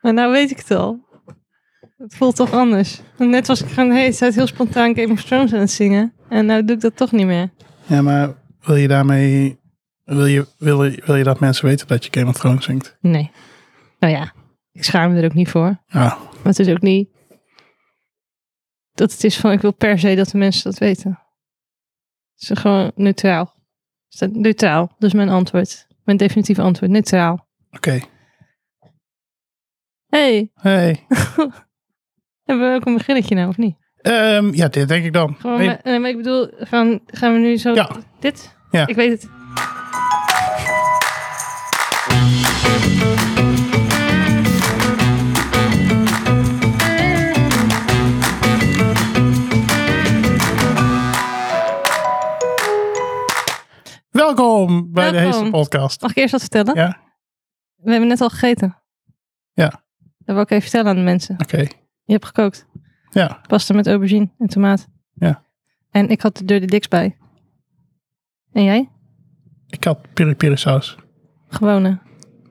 Maar nou weet ik het al. Het voelt toch anders. Want Net was ik gewoon, hey, het heel spontaan Game of Thrones aan het zingen. En nou doe ik dat toch niet meer. Ja, maar wil je daarmee... Wil je, wil, je- wil je dat mensen weten dat je Game of Thrones zingt? Nee. Nou ja, ik schaam me er ook niet voor. Ja, Maar het is ook niet dat het is van, ik wil per se dat de mensen dat weten. Het is gewoon neutraal. Het staat Neutraal, dat is mijn antwoord. Mijn definitieve antwoord, neutraal. oké. hey, Hey. hebben we ook een beginnetje nou, of niet? Ehm, ja, dit denk ik dan. Gewoon, eh, Nee, met- nee, maar ik bedoel, van, gaan we nu zo... Ja. Dit? Ja. Ik weet het. Welkom bij de Welkom. Heester podcast. Mag ik eerst wat vertellen? Ja. We hebben net al gegeten. Ja. Dat wil ik even vertellen aan de mensen. Oké, Je hebt gekookt. ja. Pasta met aubergine en tomaat. Ja. En ik had de Dirty Dicks bij. En jij? Ik had piri piri saus. Gewone.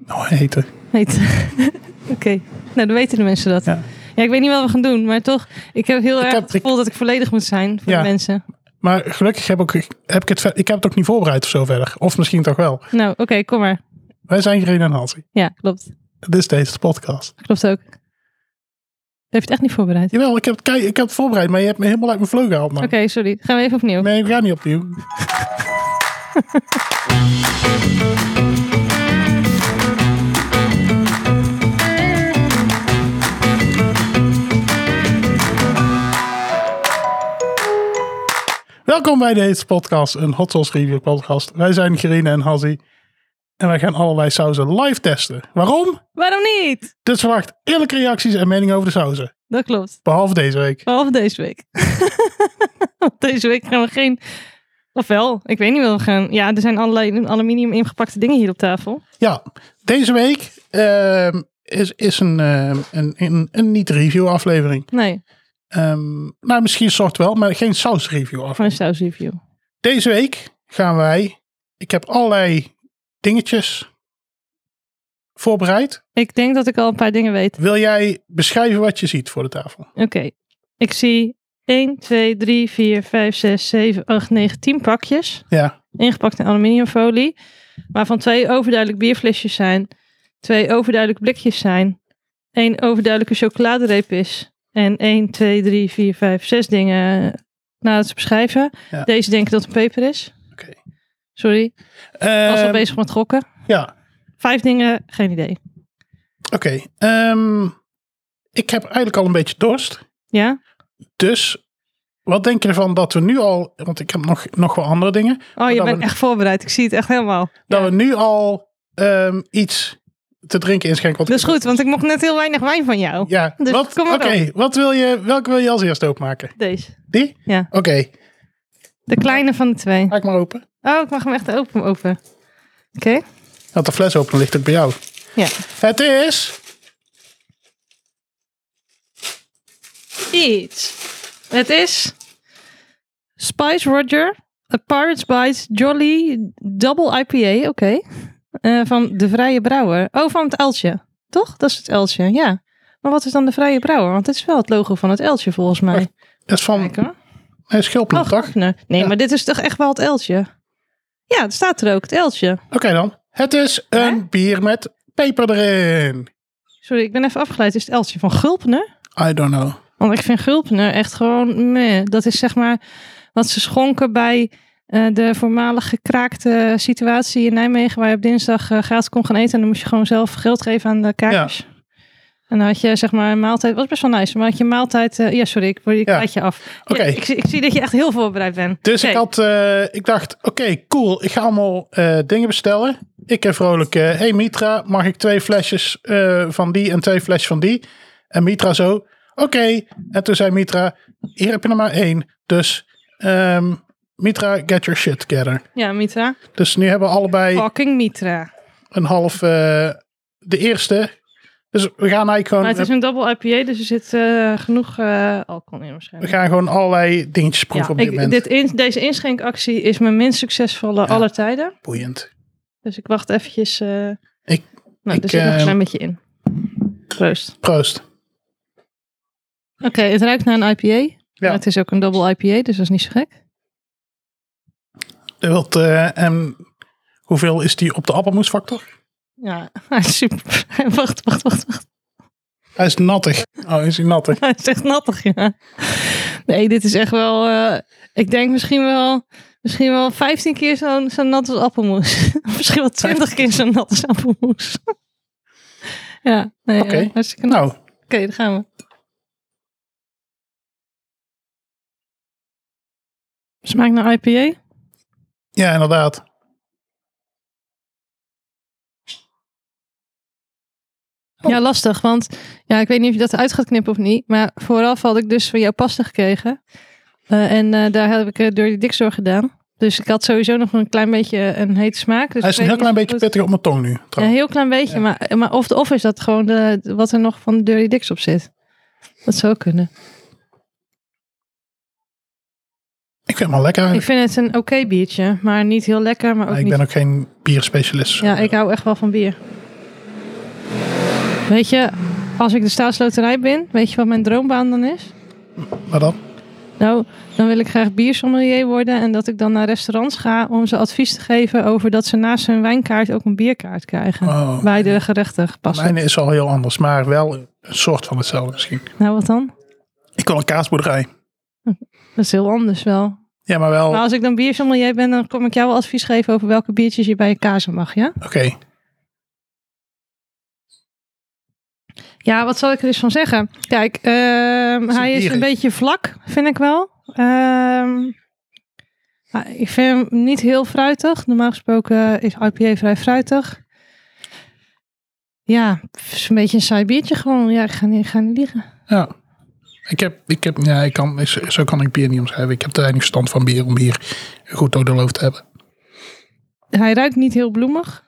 Oh, eten. Heet. eh, Oké. Nou, dan weten de mensen dat. Ja. Ja, ik weet niet wat we gaan doen, maar toch. Ik heb heel erg heb- het gevoel dat ik volledig moet zijn voor Ja. de mensen. Maar gelukkig heb, ook, heb ik, het, ver- ik heb het ook niet voorbereid of zo verder. Of misschien toch wel. Nou, oké, kom maar. Wij zijn Irene en Hansi. Ja, klopt. Dit is de Heester podcast. Klopt ook. Heb je het echt niet voorbereid? Jawel, ik heb, het, kei- ik heb het voorbereid, maar je hebt me helemaal uit mijn vleugel gehaald, man. Oké, sorry. Gaan we even opnieuw. Nee, we gaan niet opnieuw. Welkom bij deze podcast, een Hot Sauce Review podcast. Wij zijn Gerine en Hazzy en wij gaan allerlei sauzen live testen. Waarom? Waarom niet? Dus verwacht eerlijke reacties en meningen over de sauzen. Dat klopt. Behalve deze week. Behalve deze week. Want deze week gaan we geen. Ofwel, ik weet niet wat we gaan. Ja, er zijn allerlei in aluminium ingepakte dingen hier op tafel. Ja, deze week ehm, is, is een, ehm, een, een, een niet-review aflevering. Nee, Ehm, nou, misschien soort wel, maar geen saus-review van aflevering. een saus review. Deze week gaan wij, ik heb allerlei dingetjes voorbereid. Ik denk dat ik al een paar dingen weet. Wil jij beschrijven wat je ziet voor de tafel? Oké, ik zie 1, 2, 3, 4, 5, 6, 7, 8, 9, 10 pakjes. Ja, Ingepakt in aluminiumfolie. Waarvan twee overduidelijk bierflesjes zijn. Twee overduidelijk blikjes zijn. één overduidelijke chocoladereep is. En 1, 2, 3, 4, 5, 6 dingen na het beschrijven. Ja. Deze denk ik dat het een peper is. oké. Sorry, was al Ehm, bezig met gokken. ja, Vijf dingen, geen idee. oké. Ehm, ik heb eigenlijk al een beetje dorst. Ja? Dus wat denk je ervan dat we nu al, want ik heb nog, nog wel andere dingen. Oh, je dan bent we- echt voorbereid. Ik zie het echt helemaal. dat we nu al ehm, iets te drinken inschenken. Dat is goed, want ik mocht net heel weinig wijn van jou. Ja, Dus wat, kom maar oké, wat wil je, welke wil je als eerste openmaken? Deze. Die? Ja. Oké, De kleine van de twee. maak maar open. Oh, ik mag hem echt open open. Oké. Want de fles open ligt ook bij jou. Ja. Het is iets. Het is Spice Roger, A Pirate's Bite, Jolly, Double IPA, oké. Eh, van De Vrije Brouwer. Oh, van het Eltje. Toch? Dat is het Eltje, ja. Maar wat is dan De Vrije Brouwer? Want dit is wel het logo van het Eltje, volgens mij. dat is van Kijken hoor. een schildpad, Oh, toch? Gardner. Nee, Ja. maar dit is toch echt wel het Eltje? Ja, het staat er ook, het Eltje. Oké dan. Het is een bier met peper erin. Sorry, ik ben even afgeleid. Is het Eltje van Gulpener? I don't know. Want ik vind Gulpener echt gewoon meh. Dat is zeg maar wat ze schonken bij eh, de voormalig gekraakte situatie in Nijmegen. Waar je op dinsdag eh, gratis kon gaan eten. En dan moest je gewoon zelf geld geven aan de kakers. En dan had je zeg maar een maaltijd. was best wel nice. Maar had je een maaltijd. eh, ja, sorry, ik, ik Ja. laat je af. Oké. Ja, ik, zie- ik zie dat je echt heel voorbereid bent. Dus ik, Oké. had, eh, ik dacht, oké, cool. Ik ga allemaal eh, dingen bestellen. Ik heb vrolijk, eh, hey Mitra, mag ik twee flesjes eh, van die en twee flesjes van die? En Mitra zo, oké. En toen zei Mitra, hier heb je er maar één. Dus ehm, Mitra, get your shit together. Ja, Mitra. Dus nu hebben we allebei Fucking Mitra. een half eh, de eerste. Dus we gaan eigenlijk gewoon, Maar het is een double IPA, dus er zit eh, genoeg eh, alcohol in we waarschijnlijk. gaan gewoon allerlei dingetjes proeven Ja, op dit ik, moment. dit in, deze inschenkactie is mijn minst succesvolle aller tijden. Boeiend. Dus ik wacht eventjes. eh, Ik- nou, ik, er zit nog een eh, klein beetje in. Proost. Proost. Oké, het ruikt naar een IPA. Maar Het is ook een double IPA, dus dat is niet zo gek. Wilt, eh, en hoeveel is die op de appelmoesfactor? Ja, hij is super. Wacht, wacht, wacht, wacht. Hij is nattig. Oh, is hij nattig? Hij is echt nattig, ja. Nee, dit is echt wel... eh, ik denk misschien wel, misschien wel 15 keer zo'n zo nat als appelmoes. Of misschien wel 20 keer zo nat als appelmoes. ja, nee, Oké. eh, hartstikke nat. Nou, Oké, daar gaan we. Smaakt nou naar IPA? ja, inderdaad. Oh. Ja, lastig. Want ja, ik weet niet of je dat eruit gaat knippen of niet. Maar vooraf had ik dus van jou pasta gekregen. Eh, en eh, daar heb ik eh, door de dikzorg gedaan. Dus ik had sowieso nog een klein beetje een hete smaak. Dus Hij is ik een heel weet klein niet beetje of het- pittig op mijn tong nu. Ja, een trouwens. heel klein beetje. Maar, maar of, de, of is dat gewoon de, wat er nog van de Dirty Dicks op zit? Dat zou ook kunnen. Ik vind hem wel lekker Ik eigenlijk. vind het een oké biertje. Maar niet heel lekker, maar ook Ik, niet ben ook geen bierspecialist. Ja, ik hou echt wel van bier. Weet je, als ik de staatsloterij ben, weet je wat mijn droombaan dan is? Maar dan? Nou, dan wil ik graag biersommelier worden en dat ik dan naar restaurants ga om ze advies te geven over dat ze naast hun wijnkaart ook een bierkaart krijgen. Oh, Bij de gerechten gepast. Mijn is al heel anders, maar wel een soort van hetzelfde misschien. Nou, wat dan? Ik wil een kaasboerderij. Dat is heel anders wel. Ja, maar wel... Maar als ik dan biersommelier ben, dan kom ik jou wel advies geven over welke biertjes je bij je kazen mag, ja? Oké. Ja, wat zal ik er dus van zeggen? Kijk, ehm, is hij is bierig. een beetje vlak, vind ik wel. Ehm, maar ik vind hem niet heel fruitig. Normaal gesproken is IPA vrij fruitig. Ja, het is een beetje een saai biertje gewoon. Ja, ik ga niet, ik ga niet liegen. Ja. Ik heb, ik heb, ja, ik kan, is- zo kan ik bier niet omschrijven. Ik heb te weinig stand van bier om bier goed door de loof te hebben. Hij ruikt niet heel bloemig.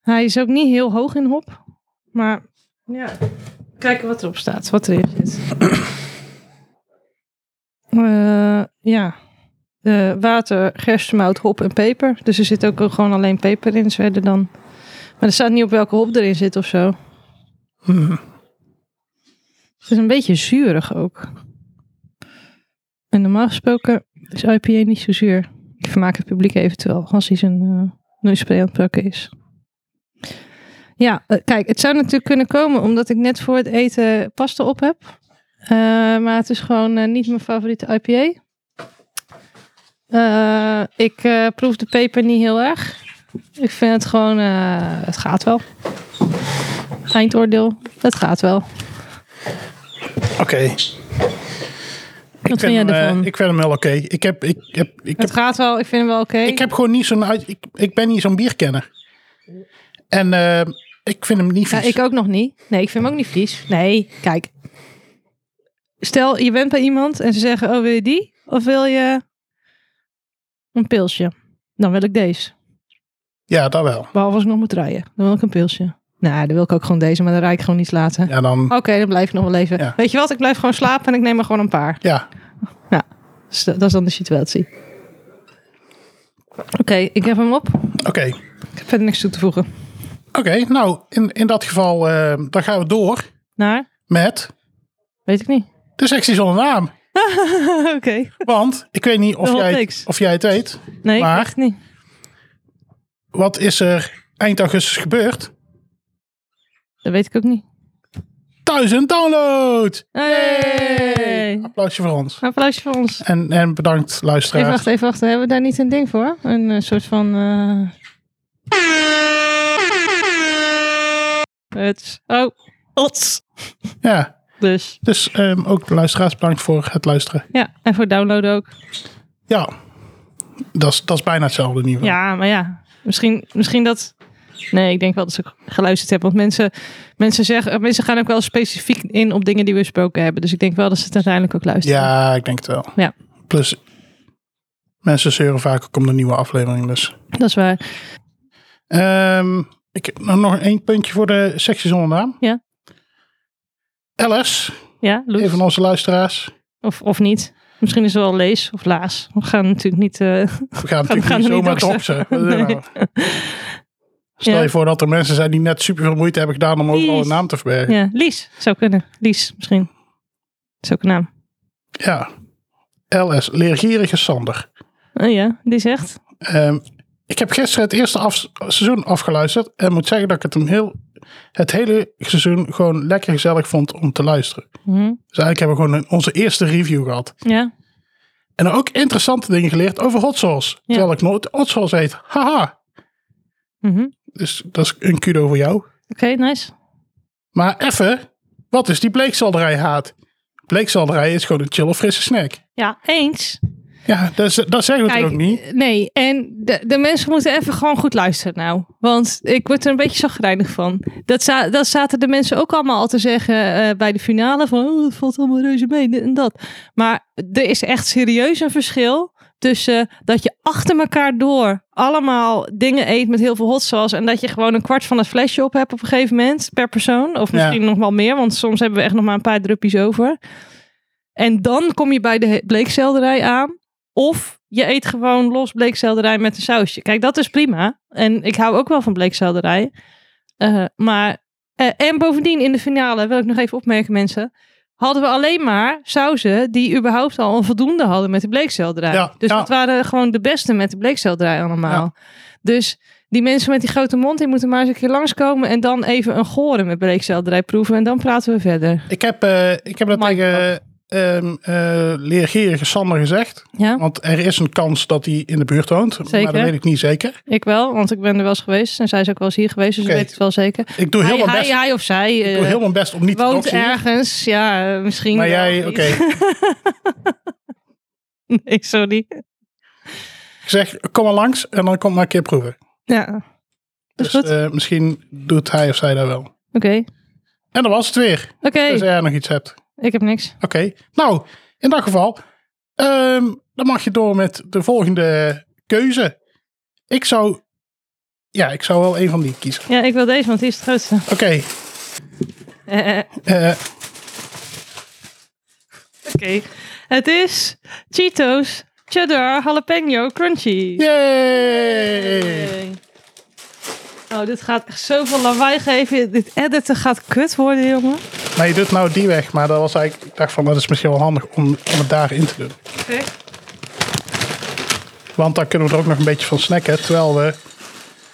Hij is ook niet heel hoog in hop. Maar ja, kijken wat erop staat, wat erin zit. Eh, ja, Eh, water, gerstemout, hop en peper. Dus er zit ook gewoon alleen peper in, is verder dan. Maar er staat niet op welke hop erin zit of zo. Hmm. Het is een beetje zuurig ook. En normaal gesproken is IPA niet zo zuur. Ik vermaak het publiek eventueel als hij zijn uh, neuspray aan het plakken is. Ja, eh, kijk, het zou natuurlijk kunnen komen omdat ik net voor het eten pasta op heb. Eh, maar het is gewoon eh, niet mijn favoriete IPA. Eh, ik eh, proef de peper niet heel erg. Ik vind het gewoon, eh, het gaat wel. Eindoordeel, het gaat wel. Oké. Wat vind Ik jij vind hem, eh, ervan? ik vind hem wel oké. Ik, heb, ik, heb, ik, heb, Het gaat wel, ik vind hem wel oké. ik heb gewoon niet zo'n... uit- Ik, ik ben niet zo'n bierkenner. En eh, ik vind hem niet Ja, vies. ik ook nog niet. Nee, ik vind hem ook niet vies. Nee, kijk. Stel, je bent bij iemand en ze zeggen, oh wil je die? Of wil je een pilsje? Dan wil ik deze. Ja, dat wel. Behalve als ik nog moet rijden. Dan wil ik een pilsje. Nou, dan wil ik ook gewoon deze, maar dan rijd ik gewoon niet later. Ja, dan... Oké, dan blijf ik nog wel leven. Ja. Weet je wat, ik blijf gewoon slapen en ik neem er gewoon een paar. Ja, Dus dat dat is dan de situatie. Oké, ik heb hem op. oké. Ik heb verder niks toe te voegen. Oké, nou, in, in dat geval, eh, dan gaan we door Naar? met Weet ik niet. de sectie zonder naam. Oké. Want, ik weet niet of De hot jij, het- takes. of jij het weet, Nee, Maar- ik weet het niet. wat is er eind augustus gebeurd? Dat weet ik ook niet. Duizend downloads! Hey! Applausje voor ons. Applausje voor ons. En, en bedankt, Even luisteraars. wachten, even wachten. Hebben we daar niet een ding voor? Een eh, soort van... eh, Het... Oh, ots. Ja, Dus dus ehm, ook de luisteraars bedankt voor het luisteren. ja, en voor downloaden ook. Ja, dat is, dat is bijna hetzelfde niveau. Ja, maar ja. Misschien, misschien dat... Nee, ik denk wel dat ze geluisterd hebben. Want mensen, mensen, zeggen, eh, mensen gaan ook wel specifiek in op dingen die we besproken hebben. Dus ik denk wel dat ze het uiteindelijk ook luisteren. Ja, ik denk het wel. Ja. Plus, mensen zeuren vaak ook om de nieuwe aflevering. Dus. Dat is waar. Ehm, ik heb nog nog één puntje voor de sectie zonder naam. Ja. Alice, Ja, Loes? een van onze luisteraars. Of, of niet. Misschien is het wel lees of laas. We gaan natuurlijk niet... eh, We gaan natuurlijk gaan niet er niet zomaar doxen. doxen. Nee. nou? Stel Ja. je voor dat er mensen zijn die net super veel moeite hebben gedaan om overal Lies. een naam te verbergen. Ja, Lies zou kunnen. Lies misschien. Dat is ook een naam. Ja. LS, leergierige Sander. Oh ja, die zegt. Ehm, ik heb gisteren het eerste af- seizoen afgeluisterd en moet zeggen dat ik het, hem heel, het hele seizoen gewoon lekker gezellig vond om te luisteren. Mhm. Dus eigenlijk hebben we gewoon een- onze eerste review gehad. Ja, En ook interessante dingen geleerd over hot sauce. Terwijl ik nooit hot sauce eet. Haha. Mhm. Dus dat is een kudo voor jou. oké, nice. Maar even, wat is die bleekselderij haat? Bleekselderij is gewoon een chille frisse snack. Ja, eens. Ja, dat, is- dat zeggen we toch Kijk, ook niet. Nee, en de, de mensen moeten even gewoon goed luisteren nou. Want ik word er een beetje chagrijnig van. Dat, za- dat zaten de mensen ook allemaal al te zeggen eh, bij de finale. Van, oh, het valt allemaal reuze mee, dit en dat. Maar er is echt serieus een verschil tussen dat je achter elkaar door allemaal dingen eet met heel veel hot sauce. En dat je gewoon een kwart van het flesje op hebt op een gegeven moment per persoon. Of Ja. misschien nog wel meer, want soms hebben we echt nog maar een paar druppies over. En dan kom je bij de he- bleekselderij aan. Of je eet gewoon los bleekselderij met een sausje. Kijk, dat is prima. En ik hou ook wel van bleekselderij. Eh, maar, eh, en bovendien in de finale, wil ik nog even opmerken mensen, hadden we alleen maar sauzen die überhaupt al een voldoende hadden met de bleekselderij. Ja, dus ja. dat waren gewoon de beste met de bleekselderij allemaal. Dus die mensen met die grote mond, die moeten maar eens een keer langskomen en dan even een gore met bleekselderij proeven en dan praten we verder. Ik heb, eh, ik heb dat Mike tegen ehm eh, leergierige Sander gezegd. Ja, Want er is een kans dat hij in de buurt woont. Maar Zeker. dat weet ik niet zeker. ik wel, want ik ben er wel eens geweest en zij is ook wel eens hier geweest, dus Oké. ik weet het wel zeker. Ik doe heel hij, mijn hij, best, hij of zij ik eh, doe heel mijn best om niet te woont doxen. ergens. Ja, eh, misschien. Maar wel jij, niet. oké. nee, sorry. Ik zeg, kom maar langs en dan kom maar een keer proeven. Ja. Dus Is goed. eh, misschien doet hij of zij dat wel. Oké. En dan was het weer. Oké, Dus jij nog iets hebt. ik heb niks. Oké. Nou, in dat geval, ehm, dan mag je door met de volgende keuze. Ik zou, ja, ik zou wel een van die kiezen. Ja, ik wil deze, want die is het grootste. Oké. Eh, eh, eh, Oké. Het is Cheetos Cheddar Jalapeno Crunchy. yay! Yay. Oh, dit gaat echt zoveel lawaai geven. Dit editen gaat kut worden, jongen. Maar je doet nou die weg, maar dat was eigenlijk, ik dacht van, dat is misschien wel handig om, om het daarin te doen. Oké. Want dan kunnen we er ook nog een beetje van snacken, terwijl we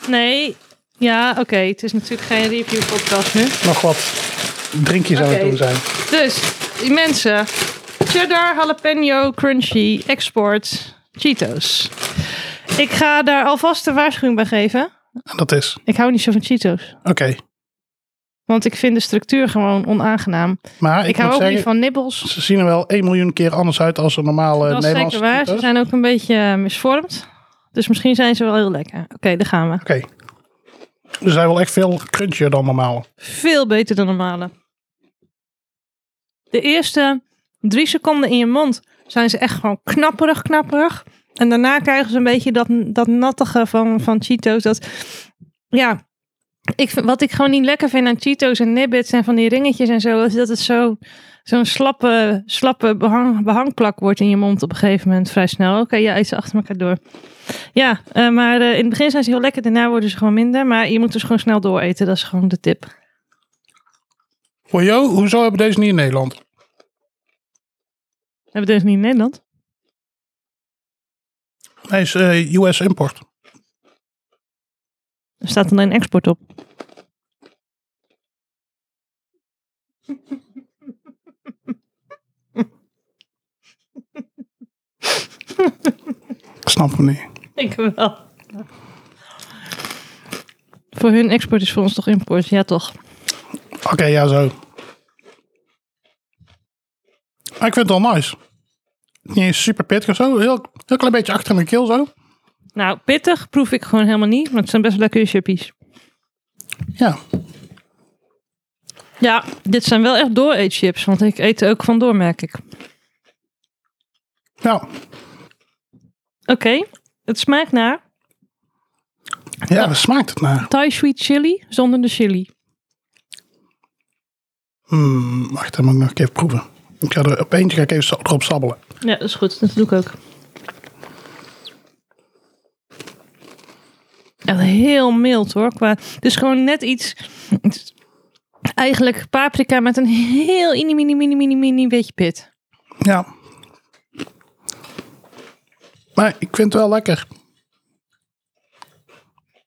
Nee. Ja, oké. Het is natuurlijk geen review podcast nu. nog wat drinkjes aan het Oké. doen zijn. Dus, die mensen. Cheddar, jalapeno, crunchy, export, Cheetos. Ik ga daar alvast een waarschuwing bij geven. En dat is, Ik hou niet zo van Cheetos. oké. Want ik vind de structuur gewoon onaangenaam. Maar Ik, ik, hou moet ook zeggen, niet van nibbels. ze zien er wel 1 miljoen keer anders uit als een normale Dat is Nederlandse zeker waar. Ze Cheetos. zijn ook een beetje eh, misvormd. Dus misschien zijn ze wel heel lekker. Oké, daar gaan we. Oké. Ze zijn wel echt veel crunchier dan normaal. Veel beter dan normale. De eerste drie seconden in je mond zijn ze echt gewoon knapperig, knapperig. En daarna krijgen ze een beetje dat, dat nattige van, van Cheetos. Dat, ja, ik, vind- wat ik gewoon niet lekker vind aan Cheetos en Nibbits en van die ringetjes en zo, is dat het zo, zo'n slappe, slappe behang, behangplak wordt in je mond op een gegeven moment vrij snel. Oké, ja, eet ze achter elkaar door. Ja, eh, maar eh, in het begin zijn ze heel lekker, daarna worden ze gewoon minder. Maar je moet dus gewoon snel dooreten, dat is gewoon de tip. Voor jou, hoezo hebben we deze niet in Nederland? Hebben we deze niet in Nederland? Hij is eh, US import. Er staat alleen export op. Ik snap hem niet. Ik wel. Voor hun export is voor ons toch import? Ja, toch? Oké, ja, zo. Maar Ah, ik vind het wel nice. Niet eens super pittig of zo. Heel, heel klein beetje achter in de keel zo. Nou, pittig proef ik gewoon helemaal niet, maar het zijn best lekkere chippies. Ja. Ja, dit zijn wel echt door-eet-chips, want ik eet er ook vandoor, merk ik. Oké, Ja. het smaakt naar Ja, daar smaakt het naar. Thai sweet chili zonder de chili. Hmm, wacht, dan moet ik nog een keer proeven. Ik ga er op eentje ga ik even sa- erop sabbelen. Ja, dat is goed. Dat doe ik ook. Echt heel mild hoor. Qua, dus gewoon net iets. het is Eigenlijk paprika met een heel mini, mini, mini, mini, mini beetje pit. Ja. Maar ik vind het wel lekker.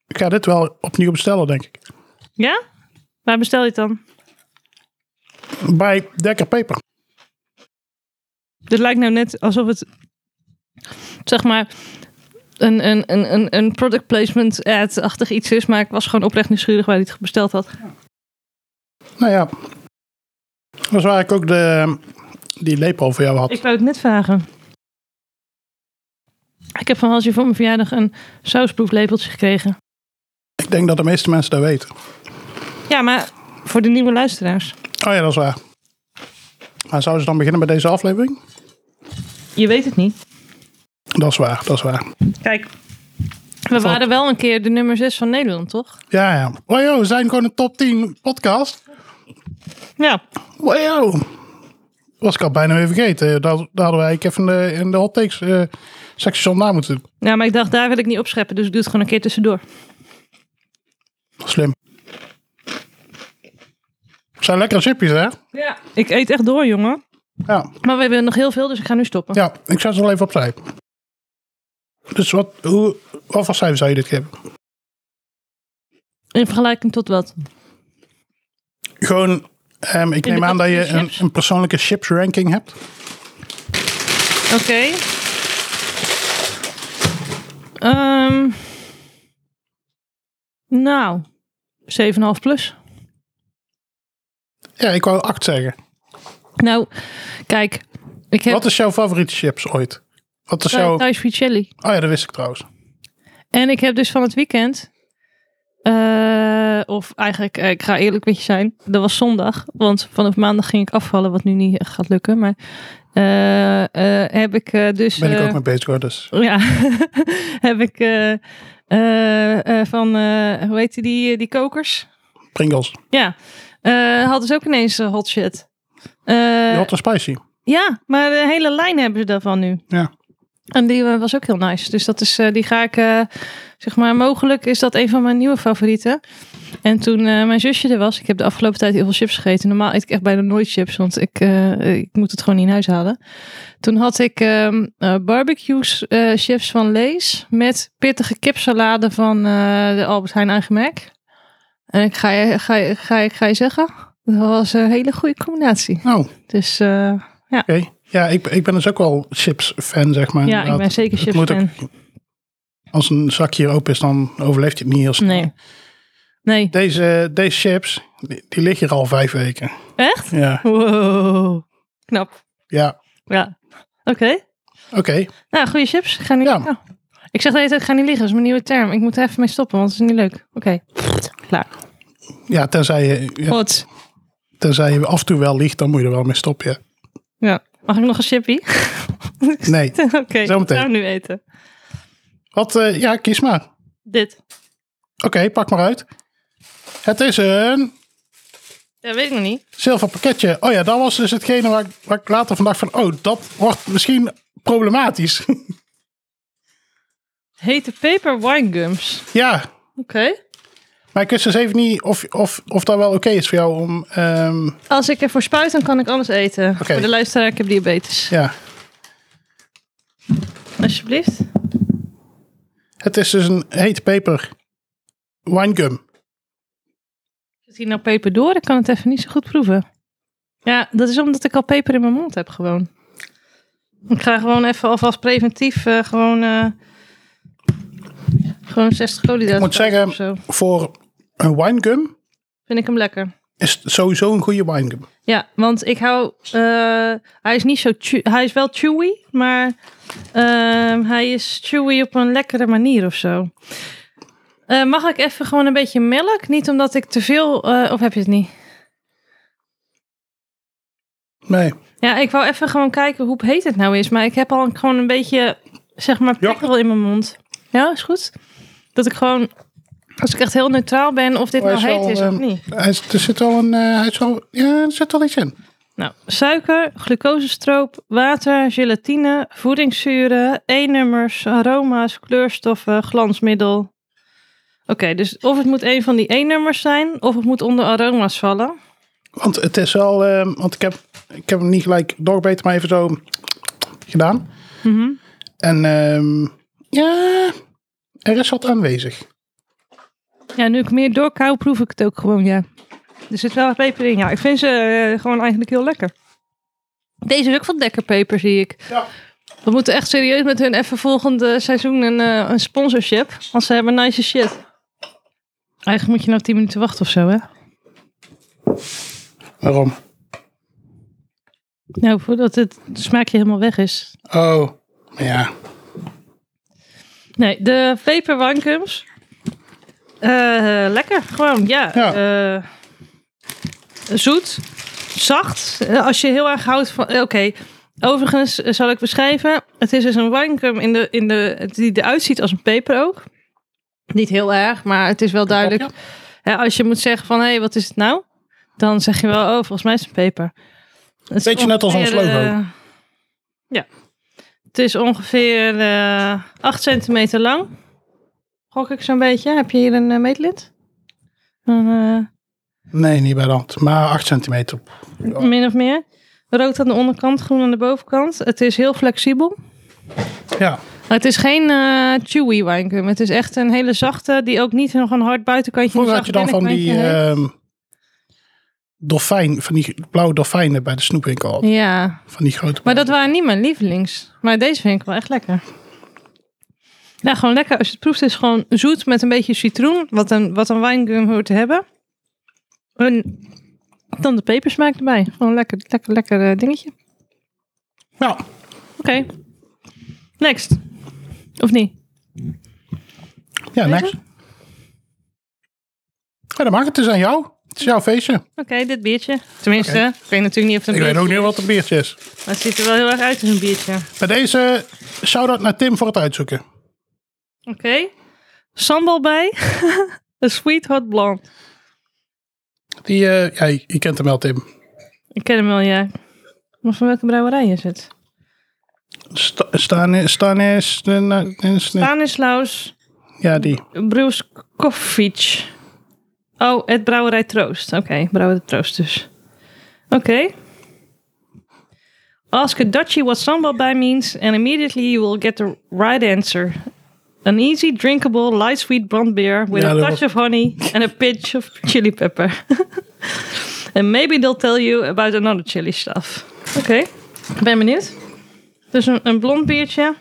Ik ga dit wel opnieuw bestellen, denk ik. Ja? Waar bestel je het dan? Bij Dekker Peper. Dit lijkt nou net alsof het, zeg maar, een, een, een, een, een product placement ad-achtig iets is. Maar ik was gewoon oprecht nieuwsgierig waar hij het besteld had. Nou ja. Dat is waar ik ook de, die lepel voor jou had. Ik wou het net vragen. Ik heb van Hansje voor mijn verjaardag een sausproeflepeltje gekregen. Ik denk dat de meeste mensen dat weten. Ja, maar voor de nieuwe luisteraars. Oh ja, dat is waar. Maar zouden ze dan beginnen bij deze aflevering? Je weet het niet. Dat is waar, dat is waar. Kijk. We waren wel een keer de nummer 6 van Nederland, toch? Ja, ja. Wajo, we zijn gewoon een top 10 podcast. Ja. Wajo. Was ik al bijna weer vergeten. Dat, daar hadden wij ik even in de, in de hot takes eh sectie na moeten doen. Ja, maar ik dacht, daar wil ik niet opscheppen. Dus ik doe het gewoon een keer tussendoor. Slim. Zijn lekkere chipjes, hè? Ja. Ik eet echt door, jongen. Ja. Maar we hebben nog heel veel, dus ik ga nu stoppen. Ja, ik zet ze al even opzij. Dus wat, hoe, wat voor cijfer zou je dit geven? In vergelijking tot wat? Gewoon, ehm, ik In de neem aan dat je categorie een, chips. een persoonlijke chips ranking hebt. Oké. Ehm, nou, 7,5 plus. Ja, ik wou 8 zeggen. Nou, kijk. Ik heb Wat is jouw favoriete chips ooit? Wat is Thai- jouw... Thai Svicelli. Oh ja, dat wist ik trouwens. En ik heb dus van het weekend... eh, of eigenlijk, eh, ik ga eerlijk met je zijn. Dat was zondag. Want vanaf maandag ging ik afvallen, wat nu niet eh, gaat lukken. Maar eh, eh, heb ik eh, dus... Ben ik eh, ook mee bezig hoor, dus... Ja, heb ik eh, eh, eh, van, eh, hoe heet die, eh, die kokers? Pringles. Ja, Eh hadden ze ook ineens eh, hot shit. Eh, Die hot en spicy. ja, maar de hele lijn hebben ze daarvan nu. Ja. En die eh, was ook heel nice. Dus dat is, eh, die ga ik, eh, zeg maar, mogelijk is dat een van mijn nieuwe favorieten. En toen eh, mijn zusje er was, ik heb de afgelopen tijd heel veel chips gegeten. Normaal eet ik echt bijna nooit chips, want ik, eh, ik moet het gewoon niet in huis halen. Toen had ik ehm eh, barbecues eh, chips van Lees met pittige kipsalade van eh, de Albert Heijn eigen merk. En ik ga je, ga, je, ga, je, ga je zeggen, dat was een hele goede combinatie. Oh, oké. Dus eh, Ja, ik, ik ben dus ook wel chips fan, zeg maar. ja, ik inderdaad. ben zeker Het chips moet ook- fan. Als een zakje open is, dan overleeft je het niet heel snel. Nee. Nee, Deze, deze chips, die, die liggen hier al vijf weken. echt? Ja, Wow. Knap. ja. Ja. Oké. Oké. Nou, goede chips. Ik Ga niet... Ja. nou. Ik zeg de hele tijd, ga niet liggen. Dat is mijn nieuwe term. Ik moet er even mee stoppen, want het is niet leuk. Oké. Klaar. Ja, tenzij je, ja, Goed. tenzij je af en toe wel liegt, dan moet je er wel mee stoppen. Ja. Ja. Mag ik nog een chippie? Nee. Oké. Zometeen. Gaan we nu eten. Wat, eh, ja, kies maar. Oké, Dit. pak maar uit. Het is een Ja, weet ik nog niet. zilver pakketje. Oh ja, dat was dus hetgene waar, ik- waar ik later vandaag van... Oh, dat wordt misschien problematisch. Hete peper winegums. ja, Oké. maar ik wist dus even niet of, of, of dat wel oké is voor jou om... ehm, Als ik ervoor spuit, dan kan ik alles eten. Voor de luisteraar, ik heb diabetes. ja, Alsjeblieft. het is dus een hete peper. Winegum. Zit hier nou peper door? Ik kan het even niet zo goed proeven. Ja, dat is omdat ik al peper in mijn mond heb gewoon. Ik ga gewoon even alvast preventief eh, gewoon, eh, gewoon 60 koolhydraten. Ik moet zeggen- of zo. Voor een winegum Vind ik hem lekker. is het sowieso een goede winegum. Ja, want ik hou... eh, hij is niet zo... chew- Hij is wel chewy, maar ehm, hij is chewy op een lekkere manier of zo. Eh, mag ik even gewoon een beetje melk? Niet omdat ik te veel... eh, of heb je het niet? Nee. Ja, ik wou even gewoon kijken hoe heet het nou is. Maar ik heb al een- gewoon een beetje, zeg maar, Yoghurt. prikkel in mijn mond. Ja, is goed. Dat ik gewoon, als ik echt heel neutraal ben of dit Maar nou hij is heet wel, is of ehm, niet. Hij is- er zit wel een... eh, hij is wel, ja, er zit wel iets in. Nou, suiker, glucosestroop, water, gelatine, voedingszuren, E-nummers, aroma's, kleurstoffen, glansmiddel. dus of het moet een van die E-nummers zijn, of het moet onder aroma's vallen. Want het is wel, ehm, want ik heb, ik heb hem niet gelijk doorbeten, maar even zo gedaan. Mhm. En ehm, ja, er is wat aanwezig. Ja, nu ik meer doorkauw, proef ik het ook gewoon, ja. Er zit wel peper in, ja. Ik vind ze eh, gewoon eigenlijk heel lekker. Deze is ook van dekkerpeper, zie ik. Ja. We moeten echt serieus met hun even volgende seizoen een, eh, een sponsorship. Want ze hebben nice shit. Eigenlijk moet je nou 10 minuten wachten of zo, hè? Waarom? Nou, voordat het smaakje helemaal weg is. Oh, ja. Nee, de peperwankums. Eh, lekker, gewoon, ja. Ja. Eh, zoet, zacht. Eh, als je heel erg houdt van... eh, Oké, overigens eh, zal ik beschrijven. Het is dus een wankum in de, in de, die eruit ziet als een peper ook. Niet heel erg, maar het is wel duidelijk. kopje? Hè, als je moet zeggen van, hé, hey, wat is het nou? Dan zeg je wel, oh, volgens mij is het een peper. Het is Beetje net als ons ongeveer, logo. eh, ja. Het is ongeveer eh 8 centimeter lang. Gok ik zo'n beetje. Heb je hier een eh, meetlint? Een, eh, Nee, niet bij de hand. Maar 8 centimeter. Ja. Min of meer. Rood aan de onderkant, groen aan de bovenkant. Het is heel flexibel. Ja. Het is geen eh, chewy wijncum. Het is echt een hele zachte, die ook niet nog een hard buitenkantje Vroeger een had je dan zacht van die binnenkantje ehm, dolfijn, van die blauwe dolfijnen bij de snoepwinkel. had. heeft. Ja, Van die grote. maar dat waren niet mijn lievelings. Maar deze vind ik wel echt lekker. Ja, gewoon lekker. Als je het proeft is het gewoon zoet met een beetje citroen. Wat een, wat een wijngum hoort te hebben. En dan de pepersmaak erbij. Gewoon lekker, lekker, lekker eh, dingetje. Ja. Oké. Next. Of niet? Ja, next. Ja, dan mag het dus aan jou. Het is jouw feestje. Oké, dit biertje. Tenminste, ik weet natuurlijk niet of het een Ik biertje weet ook niet wat een biertje is. Maar het ziet er wel heel erg uit als een biertje. Oké. Bij deze shout-out naar Tim voor het uitzoeken. Sambal bij. een sweet hot blond. Die, eh, ja, je, je kent hem wel, Tim. Ik ken hem wel, ja. Maar van welke brouwerij is het? Sta- Stan- Stanis... Stanis... Stanislaus Ja, die. Bruskovic. Oh, het Brouwerij Troost. Oké, Brouwerij Troost dus. Oké. Ask a Dutchie what sambal bij means and immediately you will get the right answer. An easy, drinkable, light sweet blond beer with Ja, a dat touch of was- honey and a pinch of chili pepper. and maybe they'll tell you about another chili stuff. Oké, ik ben benieuwd. Dus een, een blond biertje.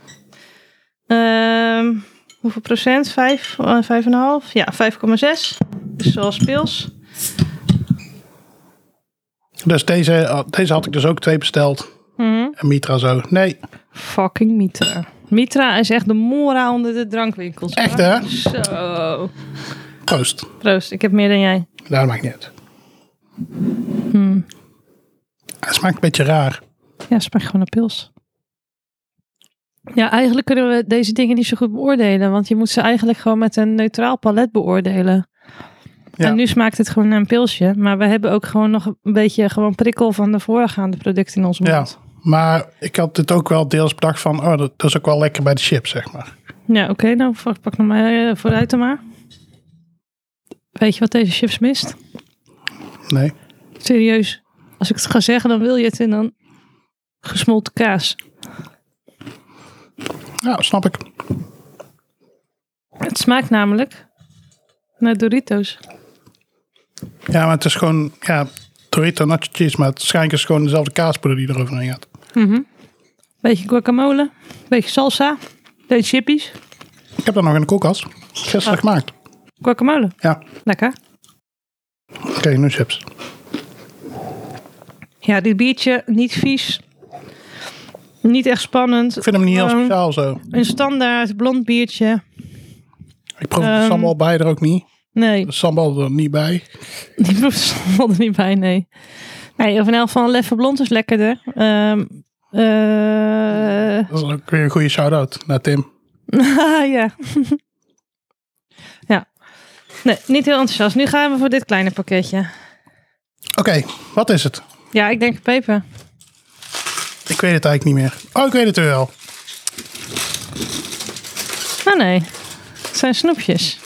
Ehm, hoeveel procent? Vijf, eh, vijf en een half? Ja, 5,6. Dus zoals pils. Dus deze, deze had ik dus ook twee besteld. Mhm. En Mitra zo. Nee, Fucking Mitra. Mitra is echt de mora onder de drankwinkels. hoor. Echt, hè? Zo. proost. Proost, ik heb meer dan jij. Dat maakt niet uit. Het smaakt een beetje raar. Ja, smaakt gewoon naar pils. Ja, eigenlijk kunnen we deze dingen niet zo goed beoordelen. Want je moet ze eigenlijk gewoon met een neutraal palet beoordelen. Ja. En nu smaakt het gewoon naar een pilsje. Maar we hebben ook gewoon nog een beetje gewoon prikkel van de voorgaande producten in ons Ja. mond. Maar ik had dit ook wel deels bedacht van... Oh, dat, dat is ook wel lekker bij de chips, zeg maar. Ja, oké, nou pak pak nog maar eh, vooruit dan maar. Weet je wat deze chips mist? Nee. Serieus. Als ik het ga zeggen, dan wil je het in dan gesmolten kaas. Ja, snap ik. Het smaakt namelijk naar Doritos. Ja, maar het is gewoon... Ja, Torito nacho cheese. Maar het schijnt is gewoon dezelfde kaaspoeder die er overheen gaat. Beetje guacamole, beetje salsa, beetje chippies. Ik heb dat nog in de koelkast. Gisteren Ah. gemaakt. Guacamole, Ja. lekker. Oké, nu chips. Ja, dit biertje, niet vies. Niet echt spannend. Ik vind hem niet heel Gewoon speciaal zo. Een standaard blond biertje. Ik proef de Ehm. sambal bij er ook niet. Nee, De sambal er niet bij. Die proefsel er niet bij, nee. Nee, of in elk geval Leffe Blond is lekkerder. Ehm eh, ah, Dat is ook weer een goede shout-out naar Tim. ja. ja. Nee, niet heel enthousiast. Nu gaan we voor dit kleine pakketje. Oké, wat is het? Ja, ik denk peper. Ik weet het eigenlijk niet meer. Oh, ik weet het wel. Ah nee, het zijn snoepjes.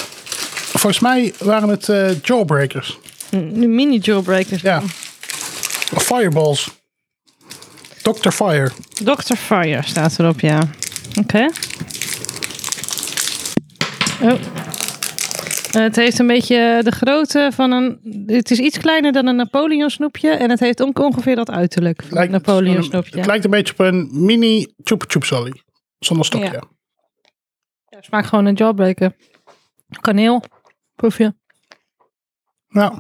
volgens mij waren het eh, jawbreakers. De mini-jawbreakers. Ja. Of Fireballs. Dr. Fire. Dr. Fire staat erop, ja. Oké. Oh. Eh, Het heeft een beetje de grootte van een. Het is iets kleiner dan een Napoleon snoepje. En het heeft ook ongeveer dat uiterlijk. Van een Napoleon snoepje. Het lijkt een beetje op een mini Chupa Chup Sally. Zonder stokje. Ja. Ja, smaakt gewoon een jawbreaker. Kaneel. Proef je. Nou.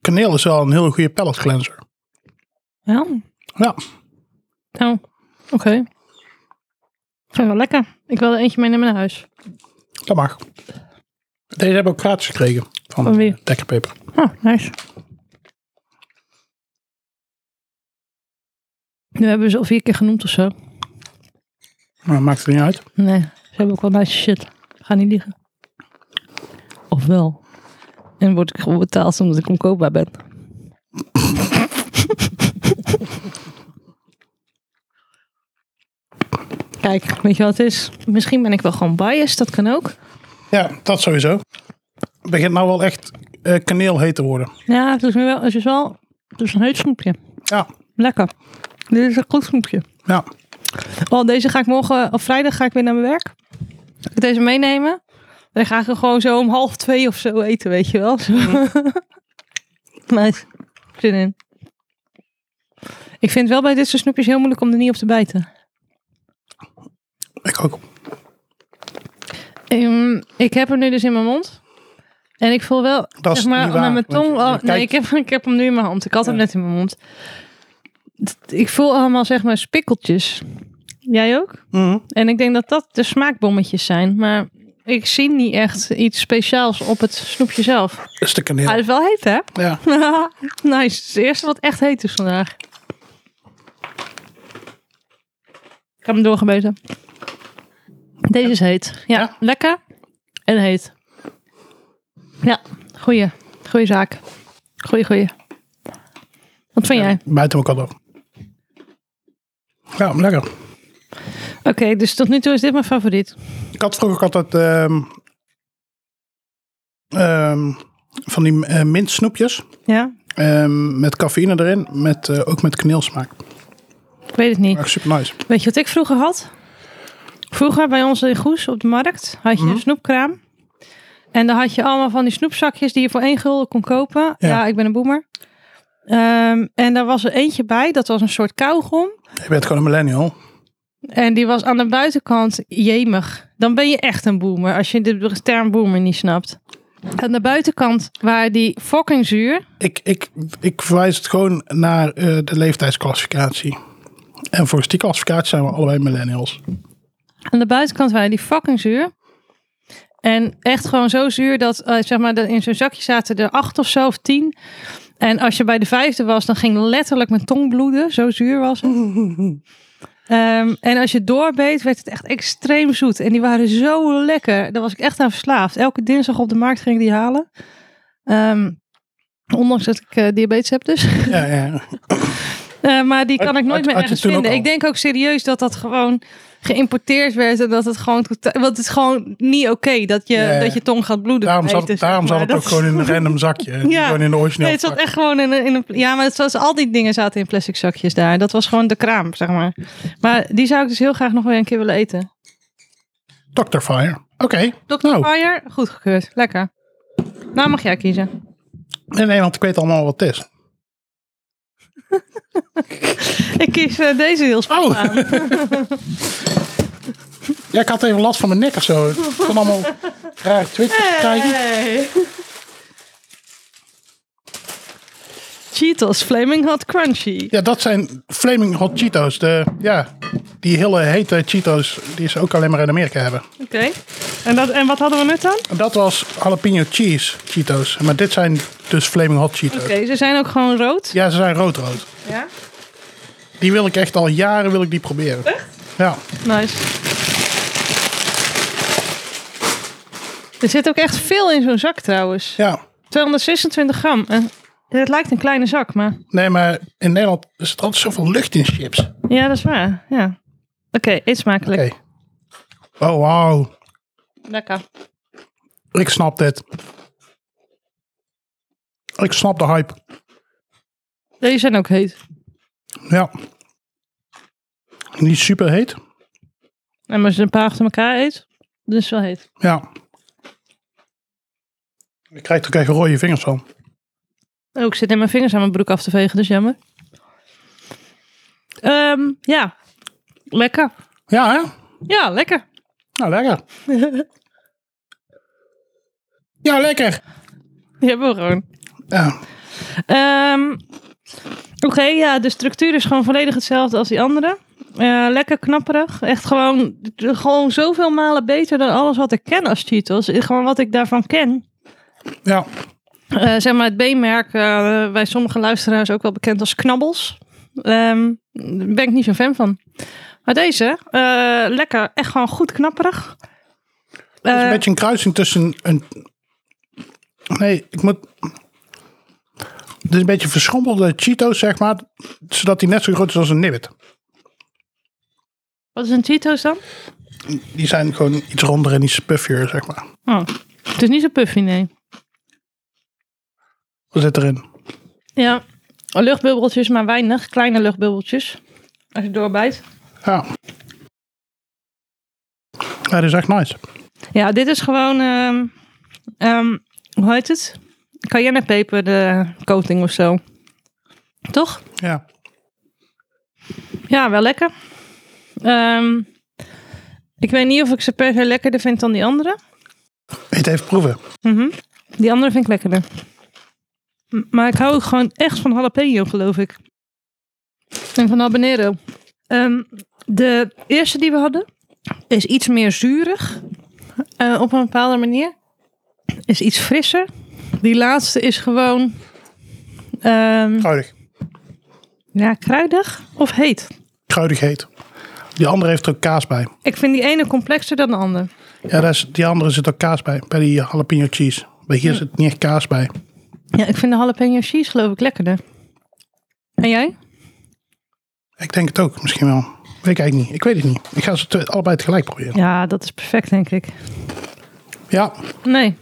Kaneel is wel een hele goede palate cleanser. Ja. Ja. Nou, oké. Ik vind het wel lekker. Ik wil er eentje meenemen naar huis. Dat mag. Deze hebben we ook gratis gekregen van Van wie? Dekker Paper. Oh, nice. Nu hebben we ze al vier keer genoemd of zo. Maar maakt het niet uit. Nee, ze hebben ook wel nice shit. Ga niet liegen. Of wel. En word ik gewoon betaald omdat ik onkoopbaar ben. Kijk, weet je wat het is? Misschien ben ik wel gewoon biased, dat kan ook. Ja, dat sowieso. Het begint nou wel echt eh, kaneelheet te worden. Ja, het is, nu wel, het is wel het is een heut snoepje. Ja, Lekker. Dit is een goed snoepje. ja. Oh, deze ga ik morgen, of vrijdag ga ik weer naar mijn werk. Ga Ik deze meenemen. Dan ga ik er gewoon zo om half twee of zo eten, weet je wel. Zo. nice. Zin in. Ik vind het wel bij dit soort snoepjes heel moeilijk om er niet op te bijten. ik ook. Ehm, ik heb hem nu dus in mijn mond. En ik voel wel, Dat is zeg maar, niet waar, naar mijn want tong. je- je oh, nee, ik kijkt- heb, ik heb hem nu in mijn hand. Ik had hem Ja. net in mijn mond. D- Ik voel allemaal, zeg maar, spikkeltjes. Jij ook? Mhm. En ik denk dat dat de smaakbommetjes zijn. Maar ik zie niet echt iets speciaals op het snoepje zelf. Maar Dat is de kaneel. het is wel heet, hè? Ja. nice. Het is het eerste wat echt heet is vandaag. Ik heb hem doorgebeten. Deze is heet. Ja, Ja? lekker en heet. Ja, goeie. Goeie zaak. Goeie, goeie. Wat vind jij? Buiten ook al door. Ja, lekker. Oké, dus tot nu toe is dit mijn favoriet. Ik had vroeger ook altijd ehm, ehm, van die eh, mintsnoepjes Ja? ehm, met cafeïne erin, met, eh, ook met kaneelsmaak. Ik weet het niet. Echt super nice. Weet je wat ik vroeger had? Vroeger bij ons in Goes op de markt had je een snoepkraam. En daar had je allemaal van die snoepzakjes die je voor één gulden kon kopen. Ja, ik ben een boemer. Ehm, en daar was er eentje bij, dat was een soort kauwgom. Je bent gewoon een millennial. En die was aan de buitenkant jemig. Dan ben je echt een boomer, als je de term boomer niet snapt. Aan de buitenkant waren die fucking zuur. Ik, ik, ik verwijs het gewoon naar eh, de leeftijdsclassificatie. En volgens die classificatie zijn we allebei millennials. Aan de buitenkant waren die fucking zuur. En echt gewoon zo zuur dat, eh, zeg maar, dat in zo'n zakje zaten er acht of zo of tien. En als je bij de vijfde was, dan ging letterlijk mijn tong bloeden. Zo zuur was het. Ehm, en als je doorbeet, werd het echt extreem zoet. En die waren zo lekker. Daar was ik echt aan verslaafd. Elke dinsdag op de markt ging ik die halen. Ehm, ondanks dat ik eh, diabetes heb dus. Ja, ja. Eh, maar die kan Had- ik nooit had- meer had je ergens toen ook vinden. al? Ik denk ook serieus dat dat gewoon geïmporteerd werd en dat het gewoon totaal- want het is gewoon niet oké dat je Ja, ja. dat je tong gaat bloeden. Daarom bij zat, eten, daarom zeg zat het maar. ook gewoon in een random zakje. en niet Ja. Gewoon in de origineel. Nee, het zat echt gewoon in een, in een ja, maar het was al die dingen zaten in plastic zakjes daar. Dat was gewoon de kraam, zeg maar. Maar die zou ik dus heel graag nog weer een keer willen eten. Dr. Fire. Oké. Dr. Nou. Fire, goedgekeurd, lekker. Nou mag jij kiezen. Nee, nee, want ik weet allemaal wat het is. Ik kies eh, deze heel spontaan. Oh. ja, ik had even last van mijn nek of zo. Ik kon allemaal rare twitters krijgen. Hey. Cheetos Flaming Hot Crunchy. Ja, dat zijn Flaming Hot Cheetos. De, ja, die hele hete Cheetos die ze ook alleen maar in Amerika hebben. Oké. En, dat, en wat hadden we net dan? En dat was jalapeno cheese Cheetos. Maar dit zijn dus Flaming Hot Cheetos. Oké, ze zijn ook gewoon rood. Ja, ze zijn rood-rood. Ja. Die wil ik echt al jaren wil ik die proberen. Ja. Nice. Er zit ook echt veel in zo'n zak trouwens. ja. 226 gram. En het lijkt een kleine zak, maar... Nee, maar in Nederland is er altijd zoveel lucht in chips. Oké. Ja, dat is waar. Ja. Oké, eet smakelijk. Oh, wauw. Lekker. Ik snap dit. Ik snap de hype. Deze zijn ook heet. Ja. Niet super heet. En als je een paar achter elkaar eet, dan is het wel heet. Ja. Ik krijg er ook echt rode vingers van. Oh, ik zit in mijn vingers aan mijn broek af te vegen, dus jammer. Ehm, ja, lekker. Ja, hè? Ja, lekker. Nou, lekker. ja, lekker. Die hebben we gewoon. Ja. Ehm, Oké, ja, de structuur is gewoon volledig hetzelfde als die andere. Eh, lekker knapperig. Echt gewoon, gewoon zoveel malen beter dan alles wat ik ken als Cheetos. Gewoon wat ik daarvan ken. ja. Eh, zeg maar het B-merk, eh, bij sommige luisteraars ook wel bekend als knabbels. Ehm, daar ben ik niet zo'n fan van. Maar deze, eh, lekker, echt gewoon goed knapperig. Het is Eh, een beetje een kruising tussen een... Nee, ik moet... Het is een beetje verschrompelde Cheetos, zeg maar. Zodat die net zo groot is als een nibbit. Wat is een Cheetos dan? Die zijn gewoon iets ronder en iets puffier, zeg maar. Oh, het is niet zo puffy, nee. Wat zit erin? Ja, luchtbubbeltjes, maar weinig. Kleine luchtbubbeltjes. Als je doorbijt. Ja. Ja, dat is echt nice. Ja, dit is gewoon, ehm, ehm, hoe heet het? Cayennepeper, de coating of zo. Toch? Ja. Ja, wel lekker. Ehm, ik weet niet of ik ze per se lekkerder vind dan die andere. Eet even proeven. Mhm. Die andere vind ik lekkerder. M- maar ik hou ook gewoon echt van jalapeno, geloof ik. En van habanero. Ehm, de eerste die we hadden is iets meer zuurig. eh, op een bepaalde manier. Is iets frisser. Die laatste is gewoon... ehm, Kruidig. ja, kruidig of heet. Kruidig heet. Die andere heeft er ook kaas bij. Ik vind die ene complexer dan de ander. Ja, daar is, die andere zit ook kaas bij. Bij die jalapeno cheese. Bij hier zit niet echt kaas bij. Ja, ik vind de jalapeno cheese geloof ik lekkerder. En jij? Ik denk het ook, misschien wel. Weet ik eigenlijk niet. Ik weet het niet. Ik ga ze te- allebei tegelijk proberen. Ja, dat is perfect denk ik. Ja, Nee.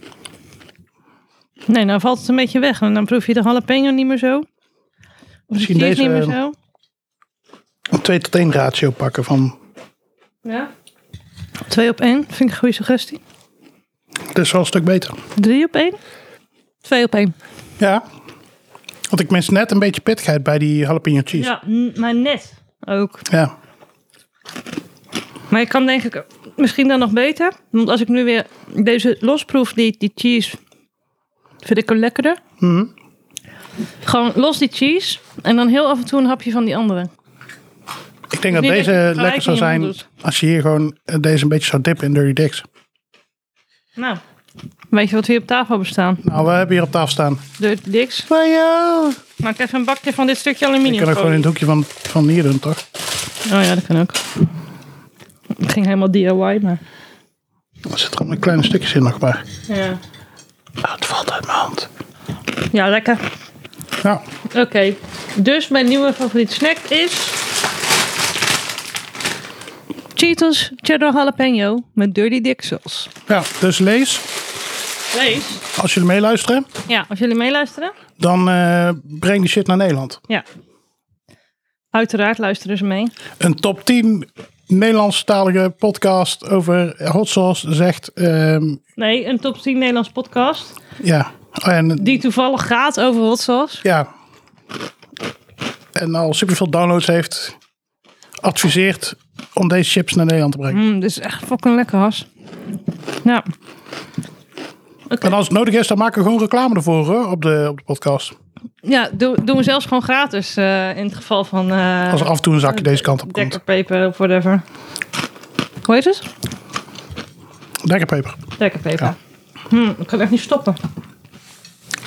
Nee, nou valt het een beetje weg. En dan proef je de jalapeno niet meer zo. Of Misschien de cheese deze, niet meer eh, zo. een 2 tot 1 ratio pakken van... Ja. Twee op één. Vind ik een goede suggestie. Dit is wel een stuk beter. Drie op één. Twee op één. Ja. Want ik mis net een beetje pittigheid bij die jalapeno cheese. Ja. n- maar net ook. Maar ik kan denk ik misschien dan nog beter. Want als ik nu weer deze losproef, die, die cheese, vind ik hem lekkerder. Mhm. Gewoon los die cheese en dan heel af en toe een hapje van die andere. Ik denk dat Niet dat je deze het gelijk lekker zou in je zijn mond doet. als je hier gewoon eh, deze een beetje zou dippen in Dirty Dicks. Nou, weet je wat we hier op tafel hebben staan? Nou, we hebben hier op tafel staan. Dirty Dicks. Maar ja. Maak even een bakje van dit stukje Je aluminium. kan ook gewoon in het hoekje van, van hier doen, toch? Oh ja, dat kan ook. Het ging helemaal DIY, maar... Er zit er allemaal kleine stukjes in nog maar. Ja, Ah, het valt uit mijn hand. ja lekker. Ja, Oké, dus mijn nieuwe favoriete snack is... Cheetos cheddar jalapeno met Dirty Dick saus. ja dus lees. Lees. Als jullie meeluisteren, Ja, als jullie meeluisteren. dan eh, breng die shit naar Nederland. Ja. Uiteraard luisteren ze mee. Een top 10 Nederlandstalige podcast over hot sauce zegt... ehm, Nee, een top 10 Nederlands podcast. ja, Oh, en, Die toevallig gaat over hot sauce. ja. En al superveel downloads heeft, adviseert om deze chips naar Nederland te brengen. Mm, dit is echt fucking lekker, Has. Ja. En als het nodig is, dan maken we gewoon reclame ervoor hoor, op, de, op de podcast. Ja, doe- doen we zelfs gewoon gratis eh, in het geval van eh, Als er af en toe een zakje deze kant op komt. dekkerpeper of whatever. Hoe heet het? Dekkerpeper. Dekkerpeper. Ja. Hm, ik kan echt niet stoppen.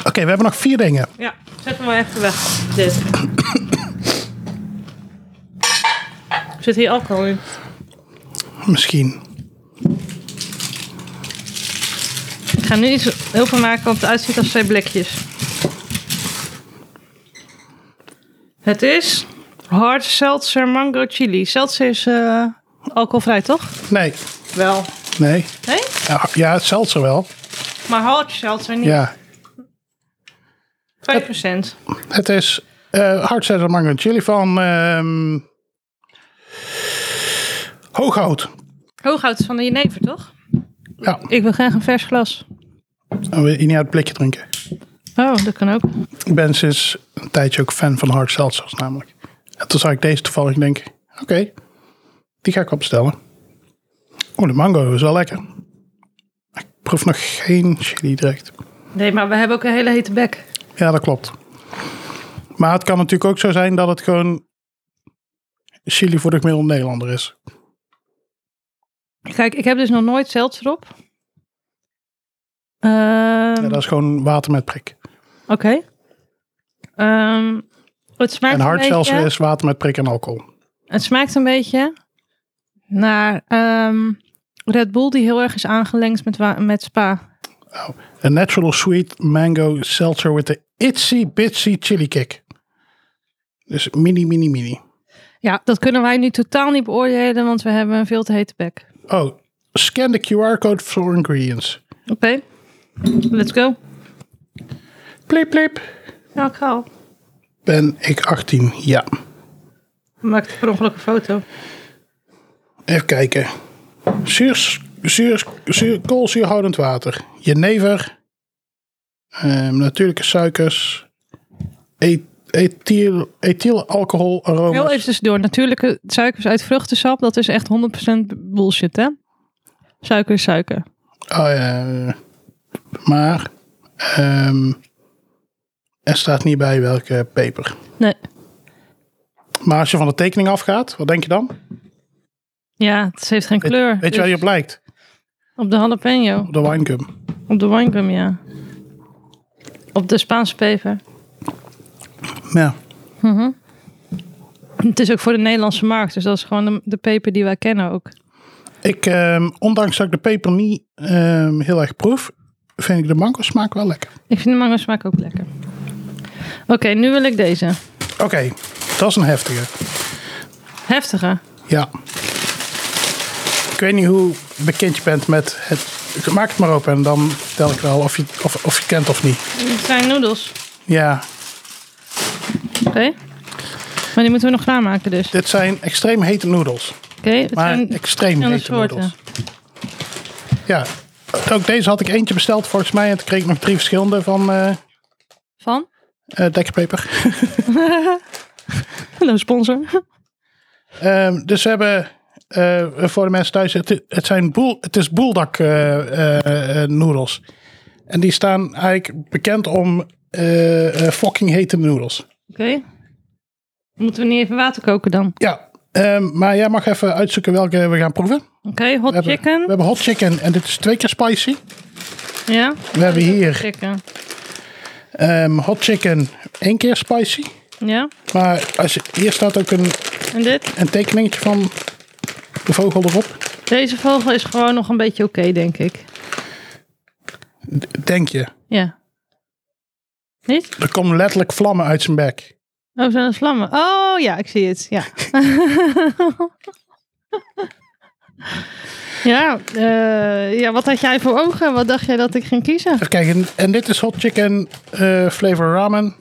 Oké, we hebben nog vier dingen. Ja, zet hem maar even weg. Dit. Zit hier alcohol in? Misschien. Ik ga nu iets heel veel maken, want het uitziet als twee blikjes. Het is hard seltzer mango chili. Seltzer is eh, alcoholvrij, toch? Nee. Wel. Nee. Nee? Ja, ja het seltzer wel. Maar hardshelter niet. Ja, 2 procent. Het is eh hard cider mango en chili van ehm Hooghout. Hooghout van de jenever, toch? Ja, Ik wil graag een vers glas. en we niet uit het blikje drinken. Oh, dat kan ook. Ik ben sinds een tijdje ook fan van hard seltzers namelijk. En toen zag ik deze toevallig en denk, oké, die ga ik opstellen. Oh, de mango is wel lekker. Ik proef nog geen chili direct. Nee, maar we hebben ook een hele hete bek. Ja, dat klopt. Maar het kan natuurlijk ook zo zijn dat het gewoon chili voor de gemiddelde Nederlander is. Kijk, ik heb dus nog nooit seltzer op. Ehm, Ja, dat is gewoon water met prik. Oké. Ehm, het smaakt En een hard beetje- seltzer is water met prik en alcohol. Het smaakt een beetje naar ehm, Red Bull die heel erg is aangelengd met, wa- met Spa. A natural sweet mango seltzer with the itsy bitsy chili kick. Dus mini, mini, mini. Ja, dat kunnen wij nu totaal niet beoordelen, want we hebben een veel te hete bek. Oh, scan de QR code for ingredients. Oké, let's go. Plip, plip. Ja, ik ga al. Ben ik 18? Ja. Maak per ongeluk een foto. Even kijken. Zuur, zuur, zuur, koolzuurhoudend water. Jenever. Ehm natuurlijke suikers. E- ethyl, ethylalcohol Heel aroma's. even tussendoor. Natuurlijke suikers uit vruchtensap, dat is echt 100% bullshit, hè? Suiker is suiker. Oh, ja. Maar ehm, er staat niet bij welke peper. Nee. Maar als je van de tekening afgaat, wat denk je dan? Ja, het heeft geen Weet- kleur. Dus Weet je waar die op lijkt? Op de jalapeno. Op de winegum. Op de winegum, ja. Op de Spaanse peper. Ja. Het is ook voor de Nederlandse markt, dus dat is gewoon de, de peper die wij kennen ook. Ik, ehm, ondanks dat ik de peper niet ehm, heel erg proef, vind ik de mango smaak wel lekker. Ik vind de mango smaak ook lekker. Oké, nu wil ik deze. Oké, dat is een heftige. Heftige. Ja. Ik weet niet hoe bekend je bent met het... Maak het maar open en dan vertel ik wel of je, of, of je kent of niet. Dit zijn noedels. Ja, Oké. Maar die moeten we nog klaarmaken dus. Oké, dit zijn extreem hete noedels. het Maar zijn extreem verschillende hete soorten. noedels. Ja. Ook deze had ik eentje besteld volgens mij. En toen kreeg ik nog drie verschillende van eh Van? eh, Dekkerpeper. Hallo sponsor. Ehm, dus we hebben eh, voor de mensen thuis... Het, het, zijn boel, het is boeldak eh, eh, eh, noedels. En die staan eigenlijk bekend om eh, eh, fucking hete noedels. Oké. Moeten we niet even water koken dan? Ja. ehm, maar jij mag even uitzoeken welke we gaan proeven. Oké, hot We hebben, we chicken. hebben hot chicken en dit is twee keer spicy. Ja. We hebben hier Chicken. ehm, hot chicken één keer spicy. Ja. Maar als je, hier staat ook een En dit? een tekeningetje van de vogel erop. Deze vogel is gewoon nog een beetje oké, denk ik. D- Denk je. Ja. Niet? Er komen letterlijk vlammen uit zijn bek. Oh, zijn dat vlammen? Oh ja, ik zie het. Ja. ja, eh, ja, wat had jij voor ogen? Wat dacht jij dat ik ging kiezen? Even kijken. En dit is hot chicken eh, flavor ramen.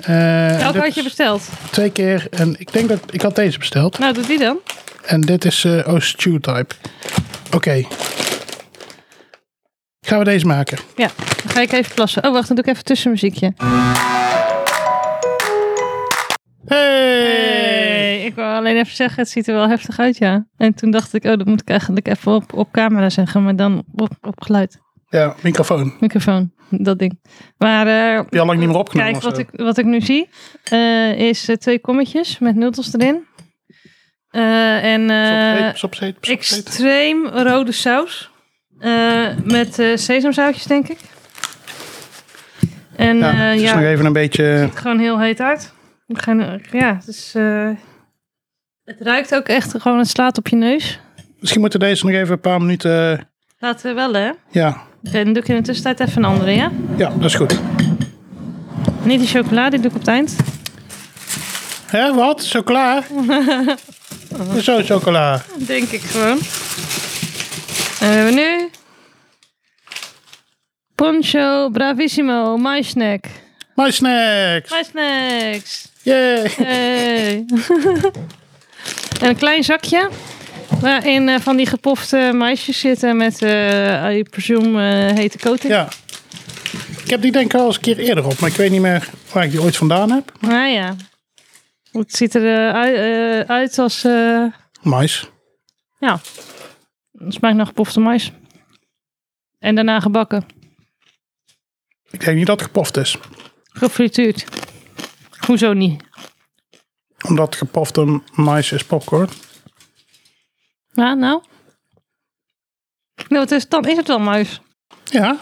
Eh, en Welke dit had je is besteld? Twee keer. En ik denk dat ik had deze besteld. Nou, doet die dan. En dit is eh oh stew type. Oké. Gaan we deze maken? Ja, dan ga ik even plassen. Oh, wacht, dan doe ik even tussenmuziekje. Hey! Hey, ik wil alleen even zeggen, het ziet er wel heftig uit, ja. En toen dacht ik, oh, dat moet ik eigenlijk even op, op camera zeggen, maar dan op, op geluid. Ja, microfoon. Heb Microfoon, dat ding. Maar eh, je al lang niet meer opgenomen? Kijk, of wat zo? ik, wat ik nu zie eh, is eh, twee kommetjes met nutels erin. Eh, en eh, Sopzeep, sopzeep, sopzeep. extreem rode saus. Eh, met eh sesamzaadjes, denk ik. En Ja, ja, het is eh, ja nog even een beetje... gewoon heel heet uit. Ik ga- Ja, het, is, eh, het ruikt ook echt gewoon, het slaat op je neus. Misschien moeten deze nog even een paar minuten... eh, Laten we wel, hè? Oké, Ja, dan doe ik in de tussentijd even een andere, ja? ja dat is goed. Niet die chocolade, die doe ik op het eind. Hé, wat? Chocola? Zo, chocola. Denk ik gewoon. En we hebben nu. Concho, Bravissimo, My Snack. My snacks! My Snacks. Yay! Hey. en een klein zakje. Waarin eh, van die gepofte maisjes zitten met, eh I presume, eh, hete coating. Ja. Ik heb die denk ik al eens een keer eerder op, maar ik weet niet meer waar ik die ooit vandaan heb. Nou ja. Het ziet er eh, ui- eh, uit als... eh, Mais. ja. Het smaakt naar gepofte mais. En daarna gebakken. Ik denk niet dat het gepoft is. Gefrituurd. Hoezo niet? Omdat gepofte mais is popcorn. Ja, nou. Nou, het is, dan is het wel muis. Ja.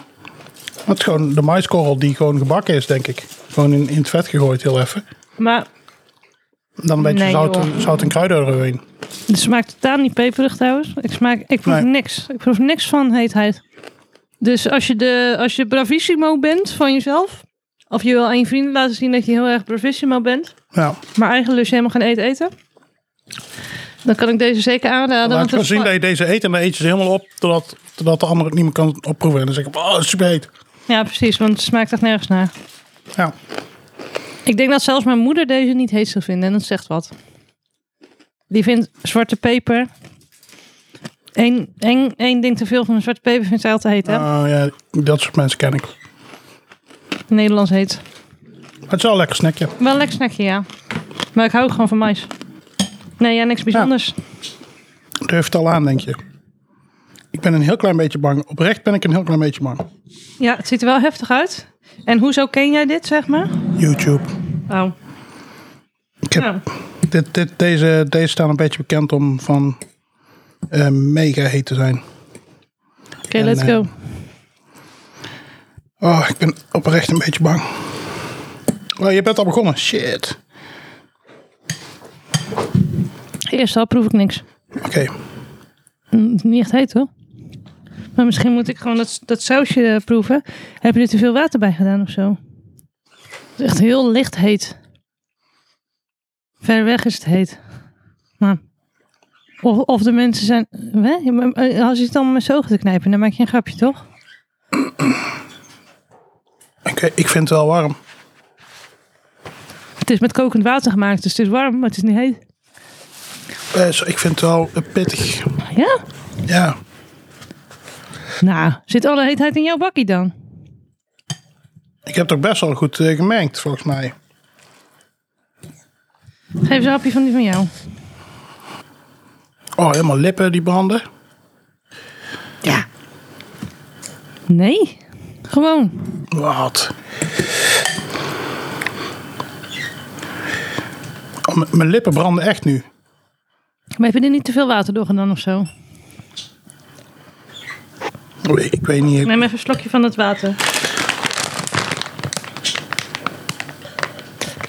Dat is gewoon de maiskorrel die gewoon gebakken is, denk ik. Gewoon in, in het vet gegooid, heel even. Maar Dan een beetje Nee, zout, joh. zout en kruiden erin. het smaakt totaal niet peperig trouwens. Ik, smaak, ik proef Nee. niks. Ik proef niks van heetheid. Dus als je, de, als je bravissimo bent van jezelf... of je wil aan je vrienden laten zien dat je heel erg bravissimo bent... Ja. maar eigenlijk dus helemaal geen eten eten... dan kan ik deze zeker aanraden. Laat want gewoon het zien sma- dat je deze eet en dan eet je ze helemaal op totdat, totdat de ander het niet meer kan opproeven. En dan zeg je, oh, super heet. Ja, precies, want het smaakt echt nergens naar. Ja. Ik denk dat zelfs mijn moeder deze niet heet zou vinden. En dat zegt wat. Die vindt zwarte peper... Eén, één, één ding te veel van een zwarte peper vindt zij altijd heet, hè? Nou ja, dat soort mensen ken ik. Nederlands heet. Maar het is wel een lekker snackje. Wel een lekker snackje, ja. Maar ik hou ook gewoon van mais. Nee, ja, niks bijzonders. Durf het al aan, denk je. Ik ben een heel klein beetje bang. Oprecht ben ik een heel klein beetje bang. Ja, het ziet er wel heftig uit. En hoezo ken jij dit, zeg maar? YouTube. Oh. Ik heb- Nou, dit, dit, deze, deze staan een beetje bekend om van eh, mega heet te zijn. oké, let's En, eh, go. Oh, ik ben oprecht een beetje bang. Oh, je bent al begonnen. Shit. Eerst al proef ik niks. Oké. Mm, Niet echt heet, hoor. Maar misschien moet ik gewoon dat, dat sausje eh, proeven. Heb je er te veel water bij gedaan of zo? Het is echt heel licht heet. Ver weg is het heet. Maar, of, of de mensen zijn... Hè? Je- maar, eh, Als je het dan met z'n ogen te knijpen, dan maak je een grapje, toch? Oké, ik vind het wel warm. Het is met kokend water gemaakt, dus het is warm, maar het is niet heet. Eh, zo, ik vind het wel eh, pittig. Ja? Ja. Nou, zit alle heetheid in jouw bakkie dan? Ik heb het ook best wel goed eh, gemengd, volgens mij. Geef eens een hapje van die van jou. Oh, helemaal lippen die branden. Ja. Nee? Gewoon. Wat? Oh, m- mijn lippen branden echt nu. Maar heb je er niet te veel water door gedaan of zo? Oei, Oh, Ik weet niet. Neem even een slokje van het water.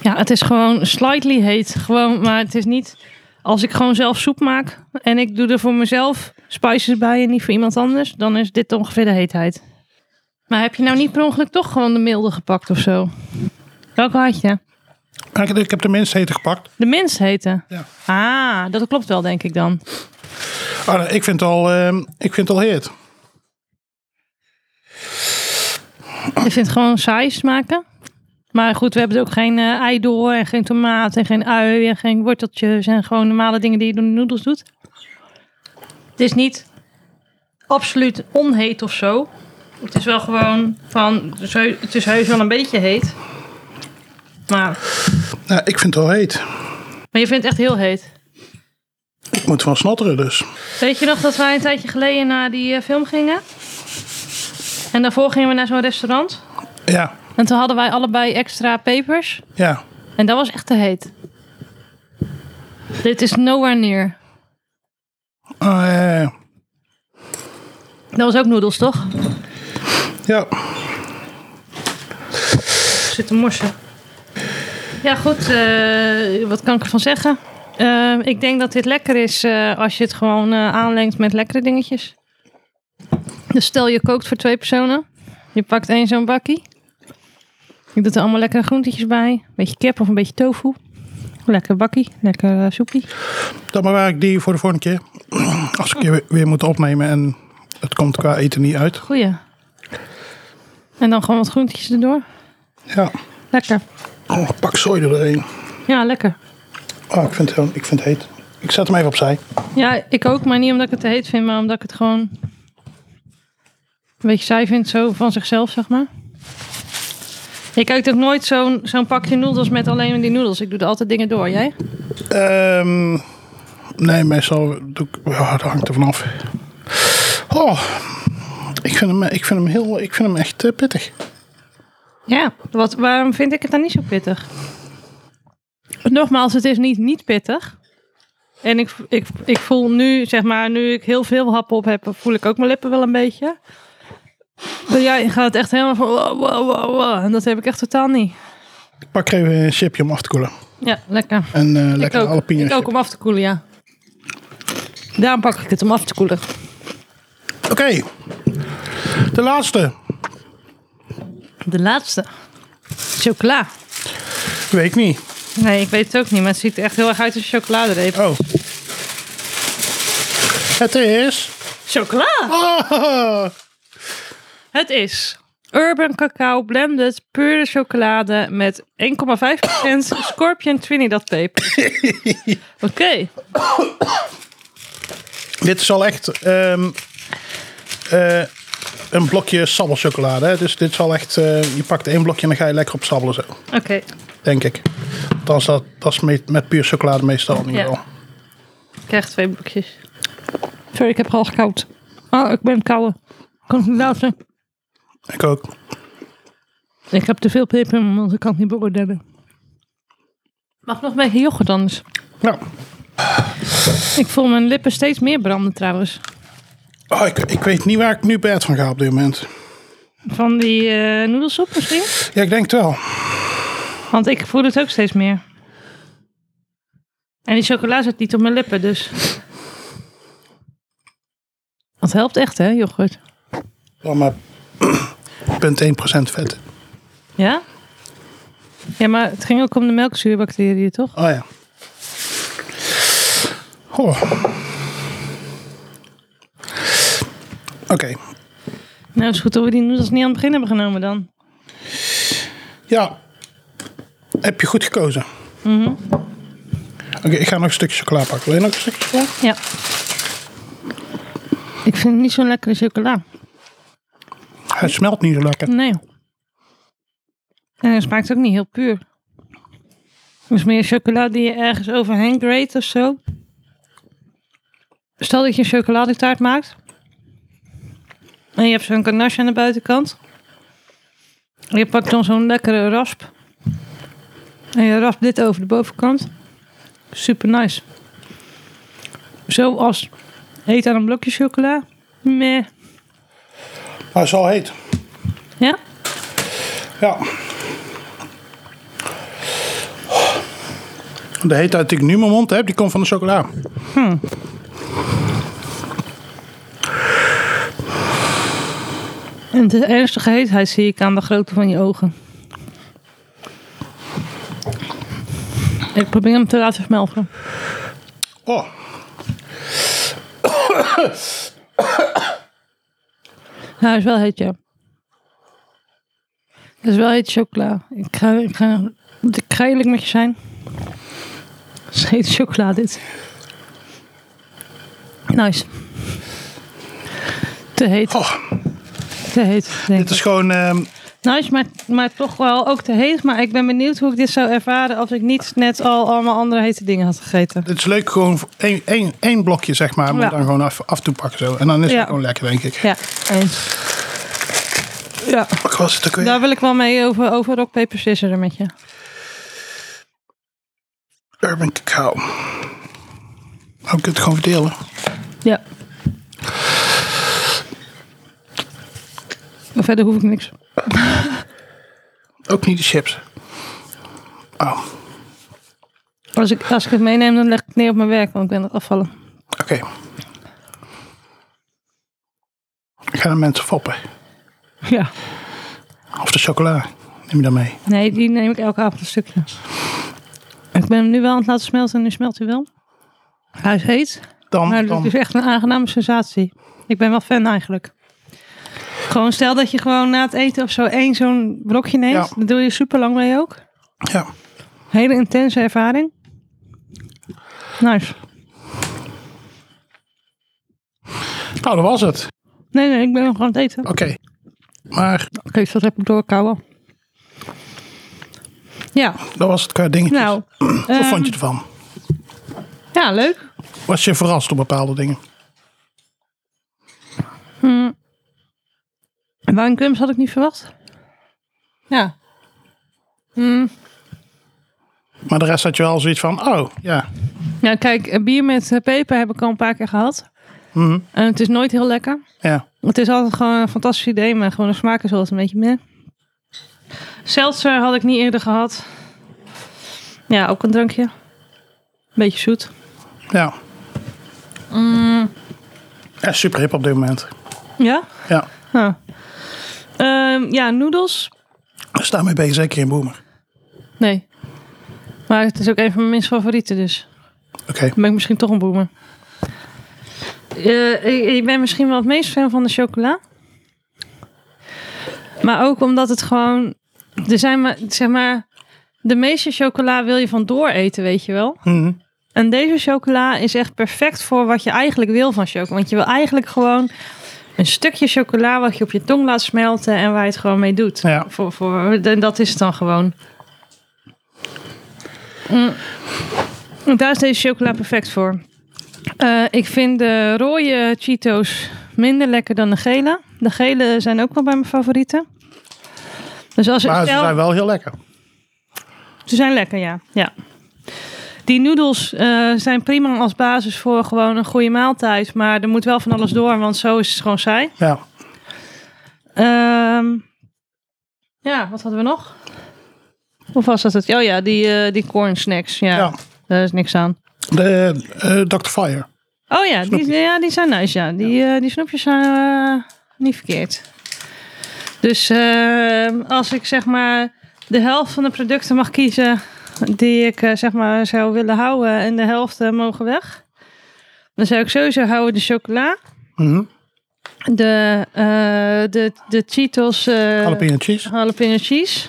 Ja, het is gewoon slightly heet. Gewoon, maar het is niet... Als ik gewoon zelf soep maak en ik doe er voor mezelf spices bij en niet voor iemand anders, dan is dit ongeveer de heetheid. Maar heb je nou niet per ongeluk toch gewoon de milde gepakt of zo? Welke had je? Ah, Ik, ik heb de minst hete gepakt. De minst hete? Ja. Ah, dat klopt wel denk ik dan. Ah, ik, vind het al, ehm, ik vind het al heet. Ik vind het gewoon saai smaken. Maar goed, we hebben er ook geen eh, ei door en geen tomaat en geen ui en geen worteltjes en gewoon normale dingen die je door de noedels doet. Het is niet absoluut onheet of zo. Het is wel gewoon van, het is heu- het is heus wel een beetje heet. Maar, Nou, ik vind het al heet. maar je vindt het echt heel heet. Ik moet van snotteren dus. Weet je nog dat wij een tijdje geleden naar die eh, film gingen? En daarvoor gingen we naar zo'n restaurant. Ja, En toen hadden wij allebei extra pepers. ja. En dat was echt te heet. Dit is nowhere near. Ah, ja, ja, ja. Dat was ook noedels, toch? ja, Zitten morsen. Ja, goed. eh, wat kan ik ervan zeggen? Eh, ik denk dat dit lekker is eh, als je het gewoon eh, aanlengt met lekkere dingetjes. Dus stel je kookt voor twee personen. Je pakt één zo'n bakkie. Je doet er allemaal lekkere groentetjes bij. Een beetje kip of een beetje tofu. Lekker bakkie, lekker eh, soepie. dan bewaar ik die voor de volgende keer. Als ik je weer moet opnemen en het komt qua eten niet uit. Goeie. En dan gewoon wat groentjes erdoor. Ja. Lekker. Oh, pak zooi er doorheen. Ja, lekker. Oh, ik vind, het, heel- ik vind het heet. Ik zet hem even opzij. Ja, ik ook, maar niet omdat ik het te heet vind, maar omdat ik het gewoon een beetje saai vind, zo van zichzelf, zeg maar. Ik eet ook nooit zo'n zo'n pakje noedels met alleen die noedels. Ik doe er altijd dingen door. Jij? Ehm, nee, meestal doe ik... Ja, dat hangt er vanaf. Oh, ik vind hem, ik vind hem, heel, ik vind hem echt eh, pittig. Ja. Wat, waarom vind ik het dan niet zo pittig? Nogmaals, het is niet niet pittig. En ik, ik, ik voel nu, zeg maar, nu ik heel veel happen op heb, voel ik ook mijn lippen wel een beetje. Maar jij gaat echt helemaal van wow, wow, wow, wow. En dat heb ik echt totaal niet. Ik pak er even een chipje om af te koelen. Ja, lekker. En eh, lekker ik ook. jalapeno Ik ook chip. om af te koelen, ja. Daarom pak ik het om af te koelen. Oké, de laatste. De laatste. Chocola. Weet ik niet. Nee, ik weet het ook niet, maar het ziet er echt heel erg uit als chocoladereep. Oh. Het is... Chocola! Ah, Het is Urban Cacao Blended Pure Chocolade met 1,5% Scorpion Trinidad Peper. Oké, dit is al echt ehm, eh, een blokje sabbelchocolade. hè. Dus dit is al echt... eh, je pakt één blokje en dan ga je lekker op sabbelen zo. oké. Denk ik. Althans, dat, dat is met, met puur chocolade meestal in ieder Ja. geval. Ik krijg twee boekjes. Sorry, ik heb al gekoud. Ah, ik ben koud. Kan het niet laten. Ik ook. Ik heb te veel peper in mijn mond, ik kan het niet beoordelen. Mag nog een beetje yoghurt anders. Nou, Ik voel mijn lippen steeds meer branden trouwens. oh, ik, ik weet niet waar ik nu bed van ga op dit moment. Van die eh noedelsoep misschien? Ja, ik denk het wel. Want ik voel het ook steeds meer. En die chocola zit niet op mijn lippen, dus... Dat helpt echt, hè, yoghurt? Wel maar 0,1% vet. Ja? Ja, maar het ging ook om de melkzuurbacteriën, toch? Oh ja. Oh. Oké. Nou, het is goed dat we die noedels niet aan het begin hebben genomen dan. Ja. Heb je goed gekozen. Oké, ik ga nog een stukje chocola pakken. Wil je nog een stukje chocola? Ja. Ik vind het niet zo'n lekkere chocola. Hij smelt niet zo lekker. Nee. En het smaakt ook niet heel puur. Het is meer chocola die je ergens overheen grate of zo. Stel dat je een chocoladetaart maakt. En je hebt zo'n ganache aan de buitenkant. En je pakt dan zo'n lekkere rasp. En je raspt dit over de bovenkant. Super nice. Zoals eten aan een blokje chocola. Meh. Hij is al heet. Ja? Ja. De heetheid die ik nu in mijn mond heb, die komt van de chocola. En de ernstige heetheid zie ik aan de grootte van je ogen. Ik probeer hem te laten smelten. Oh. Ja, hij is wel heet, ja. Het is wel heet chocola. Ik ga, ik ga, ik ga eerlijk met je zijn. Het is heet chocola, dit. Nice. Te heet, oh. te heet. Denk Dit ik. is gewoon... ehm, Nice, maar, maar toch wel ook te heet. Maar ik ben benieuwd hoe ik dit zou ervaren als ik niet net al allemaal andere hete dingen had gegeten. Het is leuk, gewoon één, één, één blokje, zeg maar. Moet Ja. dan gewoon af, af toe pakken zo. En dan is Ja. het gewoon lekker, denk ik. Ja, eens. Ja, Wat was het ook weer? daar wil ik wel mee over, over rock, paper, scissors met je. Urban cacao. Hou ik het gewoon verdelen? Ja. Maar verder hoef ik niks. Ook niet de chips. Oh, Als ik, als ik het meeneem, dan leg ik het neer op mijn werk, want ik ben aan het afvallen. oké. Ik ga de mensen foppen. Ja. Of de chocola. Neem je dan mee. Nee, die neem ik elke avond een stukje. Ik ben hem nu wel aan het laten smelten en nu smelt hij wel. Hij is heet. Dan, Maar Nou, dat dan is echt een aangename sensatie. Ik ben wel fan eigenlijk. Gewoon stel dat je gewoon na het eten of zo één zo'n blokje neemt. Ja. Dan doe je super lang mee ook. Ja. Hele intense ervaring. Nice. Nou, dat was het. Nee, nee, ik ben nog aan het eten. Oké. Maar Oké, dus dat heb ik doorkauwen. Ja, dat was het qua dingetjes. nou. Wat ehm, vond je ervan? Ja, leuk. Was je verrast door bepaalde dingen? Wine Crumbs had ik niet verwacht. Ja. Maar de rest had je wel zoiets van, oh, ja. Ja, kijk, eh, bier met eh, peper heb ik al een paar keer gehad. Mhm. En het is nooit heel lekker. Ja. Het is altijd gewoon een fantastisch idee, maar gewoon de smaak is altijd een beetje meer. Seltzer had ik niet eerder gehad. Ja, ook een drankje. Beetje zoet. Ja. Mm. Echt super hip op dit moment. Ja? Ja. Huh. Ehm, ja, noedels. Dus daarmee ben je zeker geen boomer. Nee. Maar het is ook een van mijn minst favorieten, dus Oké. dan ben ik misschien toch een boemer. Eh, ik, ik ben misschien wel het meest fan van de chocola. Maar ook omdat het gewoon... Er zijn maar, zeg maar... De meeste chocola wil je van door eten, weet je wel. Mhm. En deze chocola is echt perfect voor wat je eigenlijk wil van chocola. Want je wil eigenlijk gewoon een stukje chocola wat je op je tong laat smelten en waar je het gewoon mee doet. Ja. Voor, voor, en dat is het dan gewoon. Mm. En Mm. Daar is deze chocola perfect voor. Eh, ik vind de rode Cheetos minder lekker dan de gele. De gele zijn ook wel bij mijn favorieten. Dus als ik Maar ze stel- zijn wel heel lekker. ze zijn lekker, ja. ja. Die noedels eh, zijn prima als basis voor gewoon een goede maaltijd. Maar er moet wel van alles door, want zo is het gewoon saai. Ja. Ehm, ja, wat hadden we nog? Of was dat het? Oh ja, die, eh, die corn snacks. Ja, Ja. daar is niks aan. De eh, Dr. Fire. Oh ja, die, ja, die zijn nice, ja. Die, eh, die snoepjes zijn eh, niet verkeerd. Dus ehm, als ik zeg maar de helft van de producten mag kiezen die ik eh, zeg maar zou willen houden en de helft eh, mogen weg. Dan zou ik sowieso houden de chocola, Mhm. de, eh, de, de Cheetos eh, Jalapeno cheese. jalapeno cheese,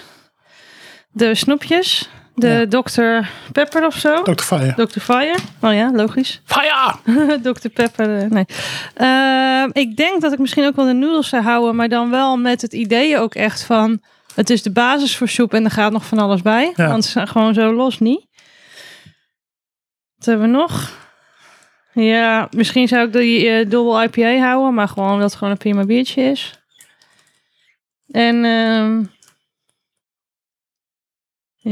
de snoepjes, de Dr. Pepper of zo, Dr. Fire. Dr. Fire. Oh ja, logisch. Fire! Oh. Dr. Pepper, eh, nee. Ehm, ik denk dat ik misschien ook wel de noedels zou houden, maar dan wel met het idee ook echt van... Het is de basis voor soep en er gaat nog van alles bij. Ja. Want ze zijn gewoon zo los niet. Wat hebben we nog? Ja, misschien zou ik die eh, dubbel IPA houden, maar gewoon omdat het gewoon een prima biertje is. En ehm,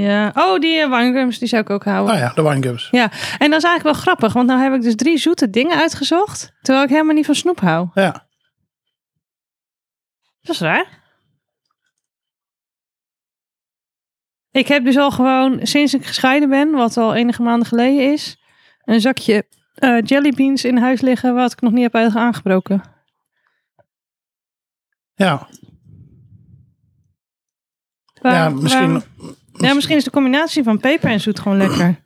ja, oh die uh, die zou ik ook houden. Nou ja, de wine gums. Ja, en dat is eigenlijk wel grappig, want nou heb ik dus drie zoete dingen uitgezocht, terwijl ik helemaal niet van snoep hou. Ja. Dat is raar. Ik heb dus al gewoon, sinds ik gescheiden ben, wat al enige maanden geleden is, een zakje eh jellybeans in huis liggen, wat ik nog niet heb uit- aangebroken. Ja. ja, Waarom- misschien... waarom- ja, misschien is de combinatie van peper en zoet gewoon lekker.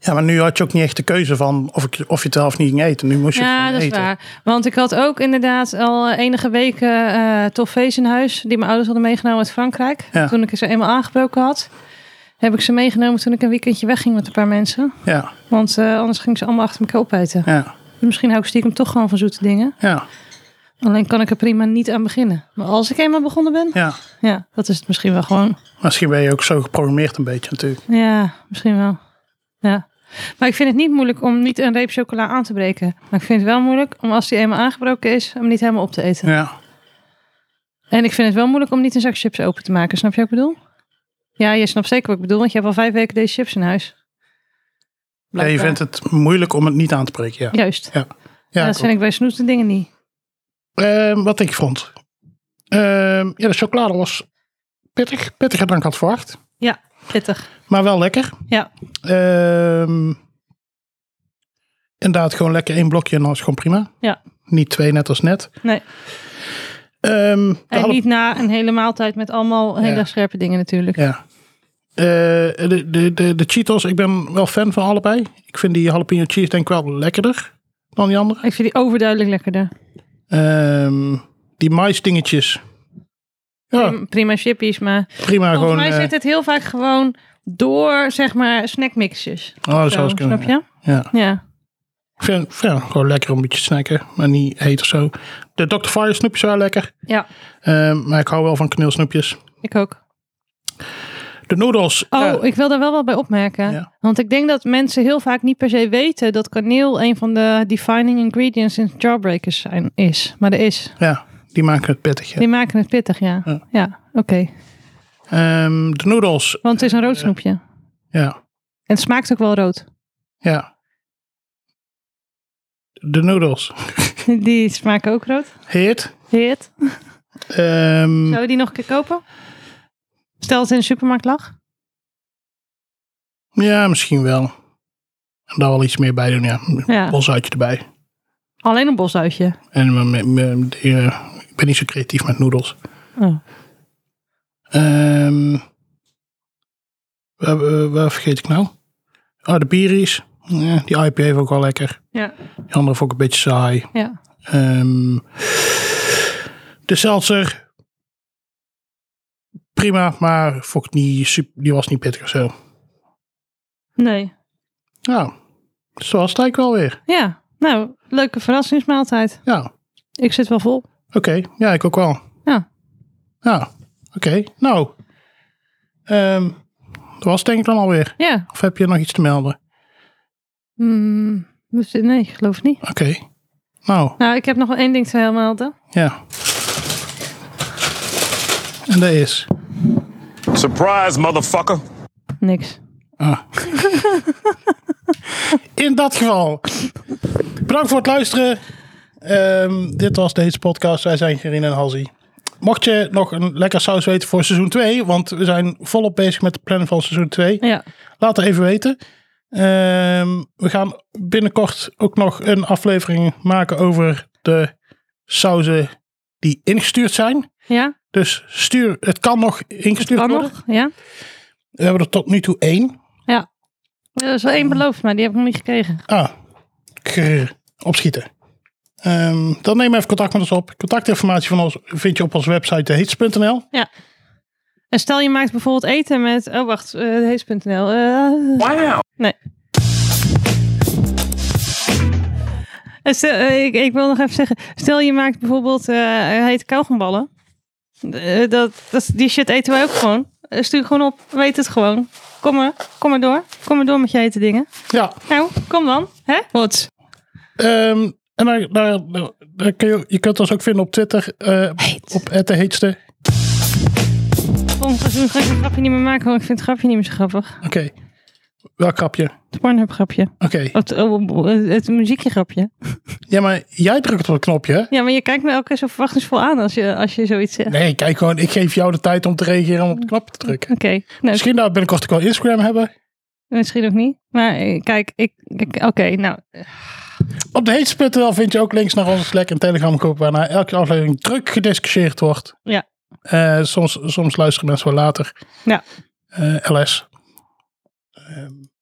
Ja, maar nu had je ook niet echt de keuze van of, ik, of je het wel of niet ging eten. Nu moest je het Ja, gewoon dat is eten. waar. Want ik had ook inderdaad al eh, enige weken eh toffees in huis. Die mijn ouders hadden meegenomen uit Frankrijk. Ja. Toen ik ze eenmaal aangebroken had. Heb ik ze meegenomen toen ik een weekendje wegging met een paar mensen. Ja, Want eh, anders gingen ze allemaal achter elkaar opeten. ja, Misschien hou ik stiekem toch gewoon van zoete dingen. ja, Alleen kan ik er prima niet aan beginnen. Maar als ik eenmaal begonnen ben, ja. ja, dat is het misschien wel gewoon. Misschien ben je ook zo geprogrammeerd een beetje natuurlijk. Ja, misschien wel. Ja. Maar ik vind het niet moeilijk om niet een reep chocola aan te breken. Maar ik vind het wel moeilijk om als die eenmaal aangebroken is, hem niet helemaal op te eten. Ja, En ik vind het wel moeilijk om niet een zak chips open te maken. Snap je wat ik bedoel? Ja, je snapt zeker wat ik bedoel, want je hebt al vijf weken deze chips in huis. ja je Blijkbaar. vindt het moeilijk om het niet aan te breken. Ja, Juist. ja, En dat klopt. vind ik bij snoet de dingen niet. Ehm, wat ik vond. Ehm, ja, de chocolade was pittig. Pittiger dan ik had verwacht. Ja, pittig. Maar wel lekker. Ja. Ehm, inderdaad, gewoon lekker één blokje en dan is het gewoon prima. Ja. Niet twee, net als net. Nee. Ehm, de En jalap- niet na een hele maaltijd met allemaal hele Ja. scherpe dingen natuurlijk. Ja. Eh, de, de, de, de Cheetos, ik ben wel fan van allebei. Ik vind die jalapeno cheese denk ik wel lekkerder dan die andere. Ik vind die overduidelijk lekkerder. Ehm, die maisdingetjes. Ja, Prim- Prima chippies, maar prima Mm, volgens gewoon. mij eh, zit het heel vaak gewoon door, zeg maar, snackmixjes. oh, dat Zo, zou eens kunnen. snap je? Ja. Ja. Ik vind ja, gewoon lekker om een beetje te snacken, maar niet heet of zo. De Dr. Fire snoepjes waren lekker, ja, eh, maar ik hou wel van kaneelsnoepjes. ik ook. De noedels. Oh, ja, ik wil daar wel wat bij opmerken. Ja. Want ik denk dat mensen heel vaak niet per se weten dat kaneel een van de defining ingredients in jawbreakers zijn, is. Maar er is. ja, die maken het pittig. ja. Die maken het pittig, ja. Ja. Ja, oké. Ehm, de noedels. Want het is een rood snoepje. En Ja, het smaakt ook wel rood. ja. De noedels. Die smaken ook rood. Heet. Heet. Ehm, Zou je die nog een keer kopen? Stel dat het in de supermarkt lag. ja, misschien wel. En daar wel iets meer bij doen, ja. Ja. Bolzuitje erbij. Alleen een bosuitje. En me- me- me- die, eh, ik ben niet zo creatief met noedels. Oh. Ehm, waar, waar- waar vergeet ik nou? Ah, de bieries. Ja, die IPA heeft ook wel lekker. Ja. Die andere vond ik een beetje saai. ja. Ehm, de seltzer. Prima, maar vond ik niet super, die was niet pittig of zo. Nee. Nou, dus dat was het eigenlijk wel weer. Ja. Nou, leuke verrassingsmaaltijd. Ja, oké. Ik zit wel vol. Ja, ik ook wel. Ja. Ja, oké. Nou, ehm, dat was het denk ik dan alweer. Ja. Of heb je nog iets te melden? Mm, dus- nee, ik geloof het niet. Oké. Nou, Nou, ik heb nog wel één ding te melden. ja. En dat is... Surprise, motherfucker. Niks. Ah. In dat geval. Bedankt voor het luisteren. Ehm, dit was deze podcast. Wij zijn Gerine en Halsey. Mocht je nog een lekker saus weten voor seizoen 2, want we zijn volop bezig met de plannen van seizoen 2, Ja. laat het even weten. Ehm, we gaan binnenkort ook nog een aflevering maken over de sauzen die ingestuurd zijn. Ja? Dus stuur, het kan nog ingestuurd Kan worden. nog? Ja? We hebben er tot nu toe één. Ja. Er is wel één beloofd, maar die heb ik nog niet gekregen. Ah, grrr, opschieten. Ehm, dan neem even contact met ons op. Contactinformatie van ons vind je op onze website heets.nl. Ja. En stel je maakt bijvoorbeeld eten met... Oh, wacht. eh Hees.nl. eh, Wow. Nee. En stel- eh, ik, ik wil nog even zeggen, stel je maakt bijvoorbeeld eh hete kauwgomballen. Eh, dat, dat, die shit eten wij ook gewoon. Eh, stuur gewoon op, weet het gewoon. Kom maar, kom maar door. Kom maar door met je hete dingen. Ja, Nou, kom dan. Hè? Wat? ehm, en daar, daar, daar kun je, je kunt ons ook vinden op Twitter. eh, Heet. Op het heetste. Volgend seizoen ga ik een grapje niet meer maken, want ik vind het grapje niet meer zo grappig. Oké, welk grapje? Oké, Het Pornhub grapje. Het, oh, het muziekje grapje. ja, maar jij drukt op het knopje. hè? Ja, maar je kijkt me elke keer zo verwachtingsvol aan als je, als je zoiets zegt. Nee, kijk gewoon, ik geef jou de tijd om te reageren om op het knopje te drukken. Oké, nou, Misschien dat we binnenkort ook wel Instagram hebben. Misschien ook niet. Maar eh, kijk, ik, ik oké, nou, Op de heets.nl vind je ook links naar onze Slack en Telegram groep, waarna elke aflevering druk gediscussieerd wordt. ja. Eh, soms, soms luisteren mensen wel later. Ja, Eh, LS.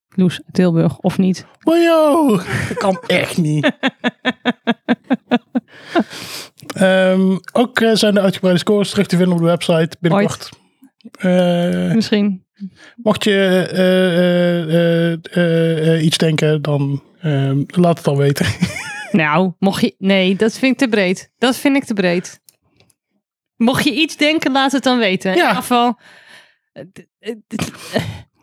Loes, Tilburg of niet. Wojo, dat kan echt niet. Ehm, ook eh, zijn de uitgebreide scores terug te vinden op de website binnenkort. Eh, Misschien. mocht je eh, eh, eh, eh, eh, iets denken, dan ehm, laat het dan weten. Nou, mocht je... Nee, dat vind ik te breed. Dat vind ik te breed. Mocht je iets denken, laat het dan weten. Ja. In ieder geval... eh, d- eh, d-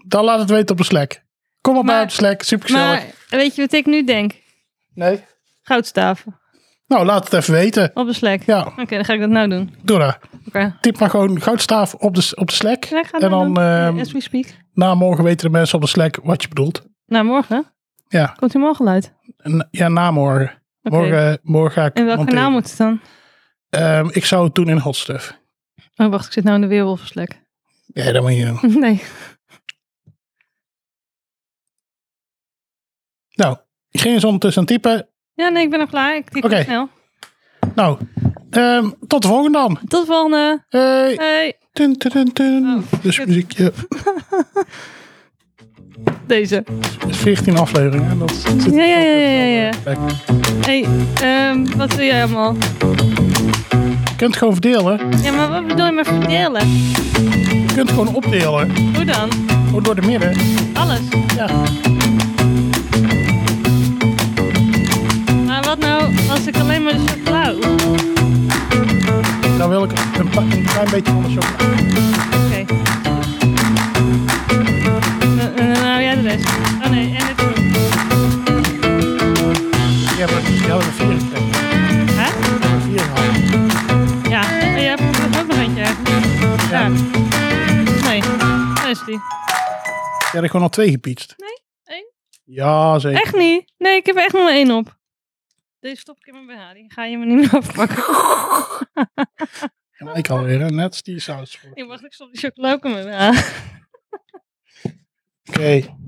dan laat het weten op de Slack. Kom op Maar- bij op de Slack, super gezellig. Maar weet je wat ik nu denk? Nee. Goudstaven. Nou, laat het even weten. Op de slack. Ja. Oké, dan ga ik dat nou doen. Doe dat. Oké. Typ maar gewoon goudstaaf op de, op de Slack. Ja, ik ga het En nou dan doen. ehm, As we speak. na morgen weten de mensen op de Slack wat je bedoelt. Nou, morgen. Ja. Komt u morgen uit? N- Ja, na morgen. Oké. Morgen, morgen ga ik En welk monteren. kanaal moet het dan? Ehm, ik zou het doen in Hot Stuff. Oh, wacht. Ik zit nou in de weerwolven slack. Ja, dat moet je doen. nee. Nou, ik ging eens ondertussen aan typen. Ja, nee, ik ben al klaar. Ik typ Oké. het snel. Nou, ehm, tot de volgende dan. Tot de volgende. Hey. Hey. Tun, tun, tun, tun. Oh, dus kut. muziekje. Deze. Het is 14 afleveringen. Dat zit Ja, ja, ja, ja, ja. Lekker. Hey, ehm, wat doe jij allemaal? Je kunt gewoon verdelen. Ja, maar wat bedoel je met verdelen? Je kunt gewoon opdelen. Hoe dan? Gewoon door de midden. Alles. Ja. Maar wat nou als ik alleen maar de chocola Oeh, Dan wil ik een, pa- een klein beetje van de chocola. Oké. Eh, eh, Nou, jij de rest. Oh nee, en het groen. Dus Die hebben die hebben er vier gekregen. Hè? Die hebben er vier gehaald. Ja. En je hebt er ook nog eentje eigenlijk. Ja. Nee, daar is die. Die hadden gewoon al twee gepietst. Nee, één. Ja, zeker. Echt niet? Nee, ik heb er echt nog maar één op. Deze stop ik in mijn BH. Die ga je me niet meer afpakken. Ja, Ik alweer hè. net die saus. voor. Ik mag ik stop die chocola ook in mijn BH. Oké.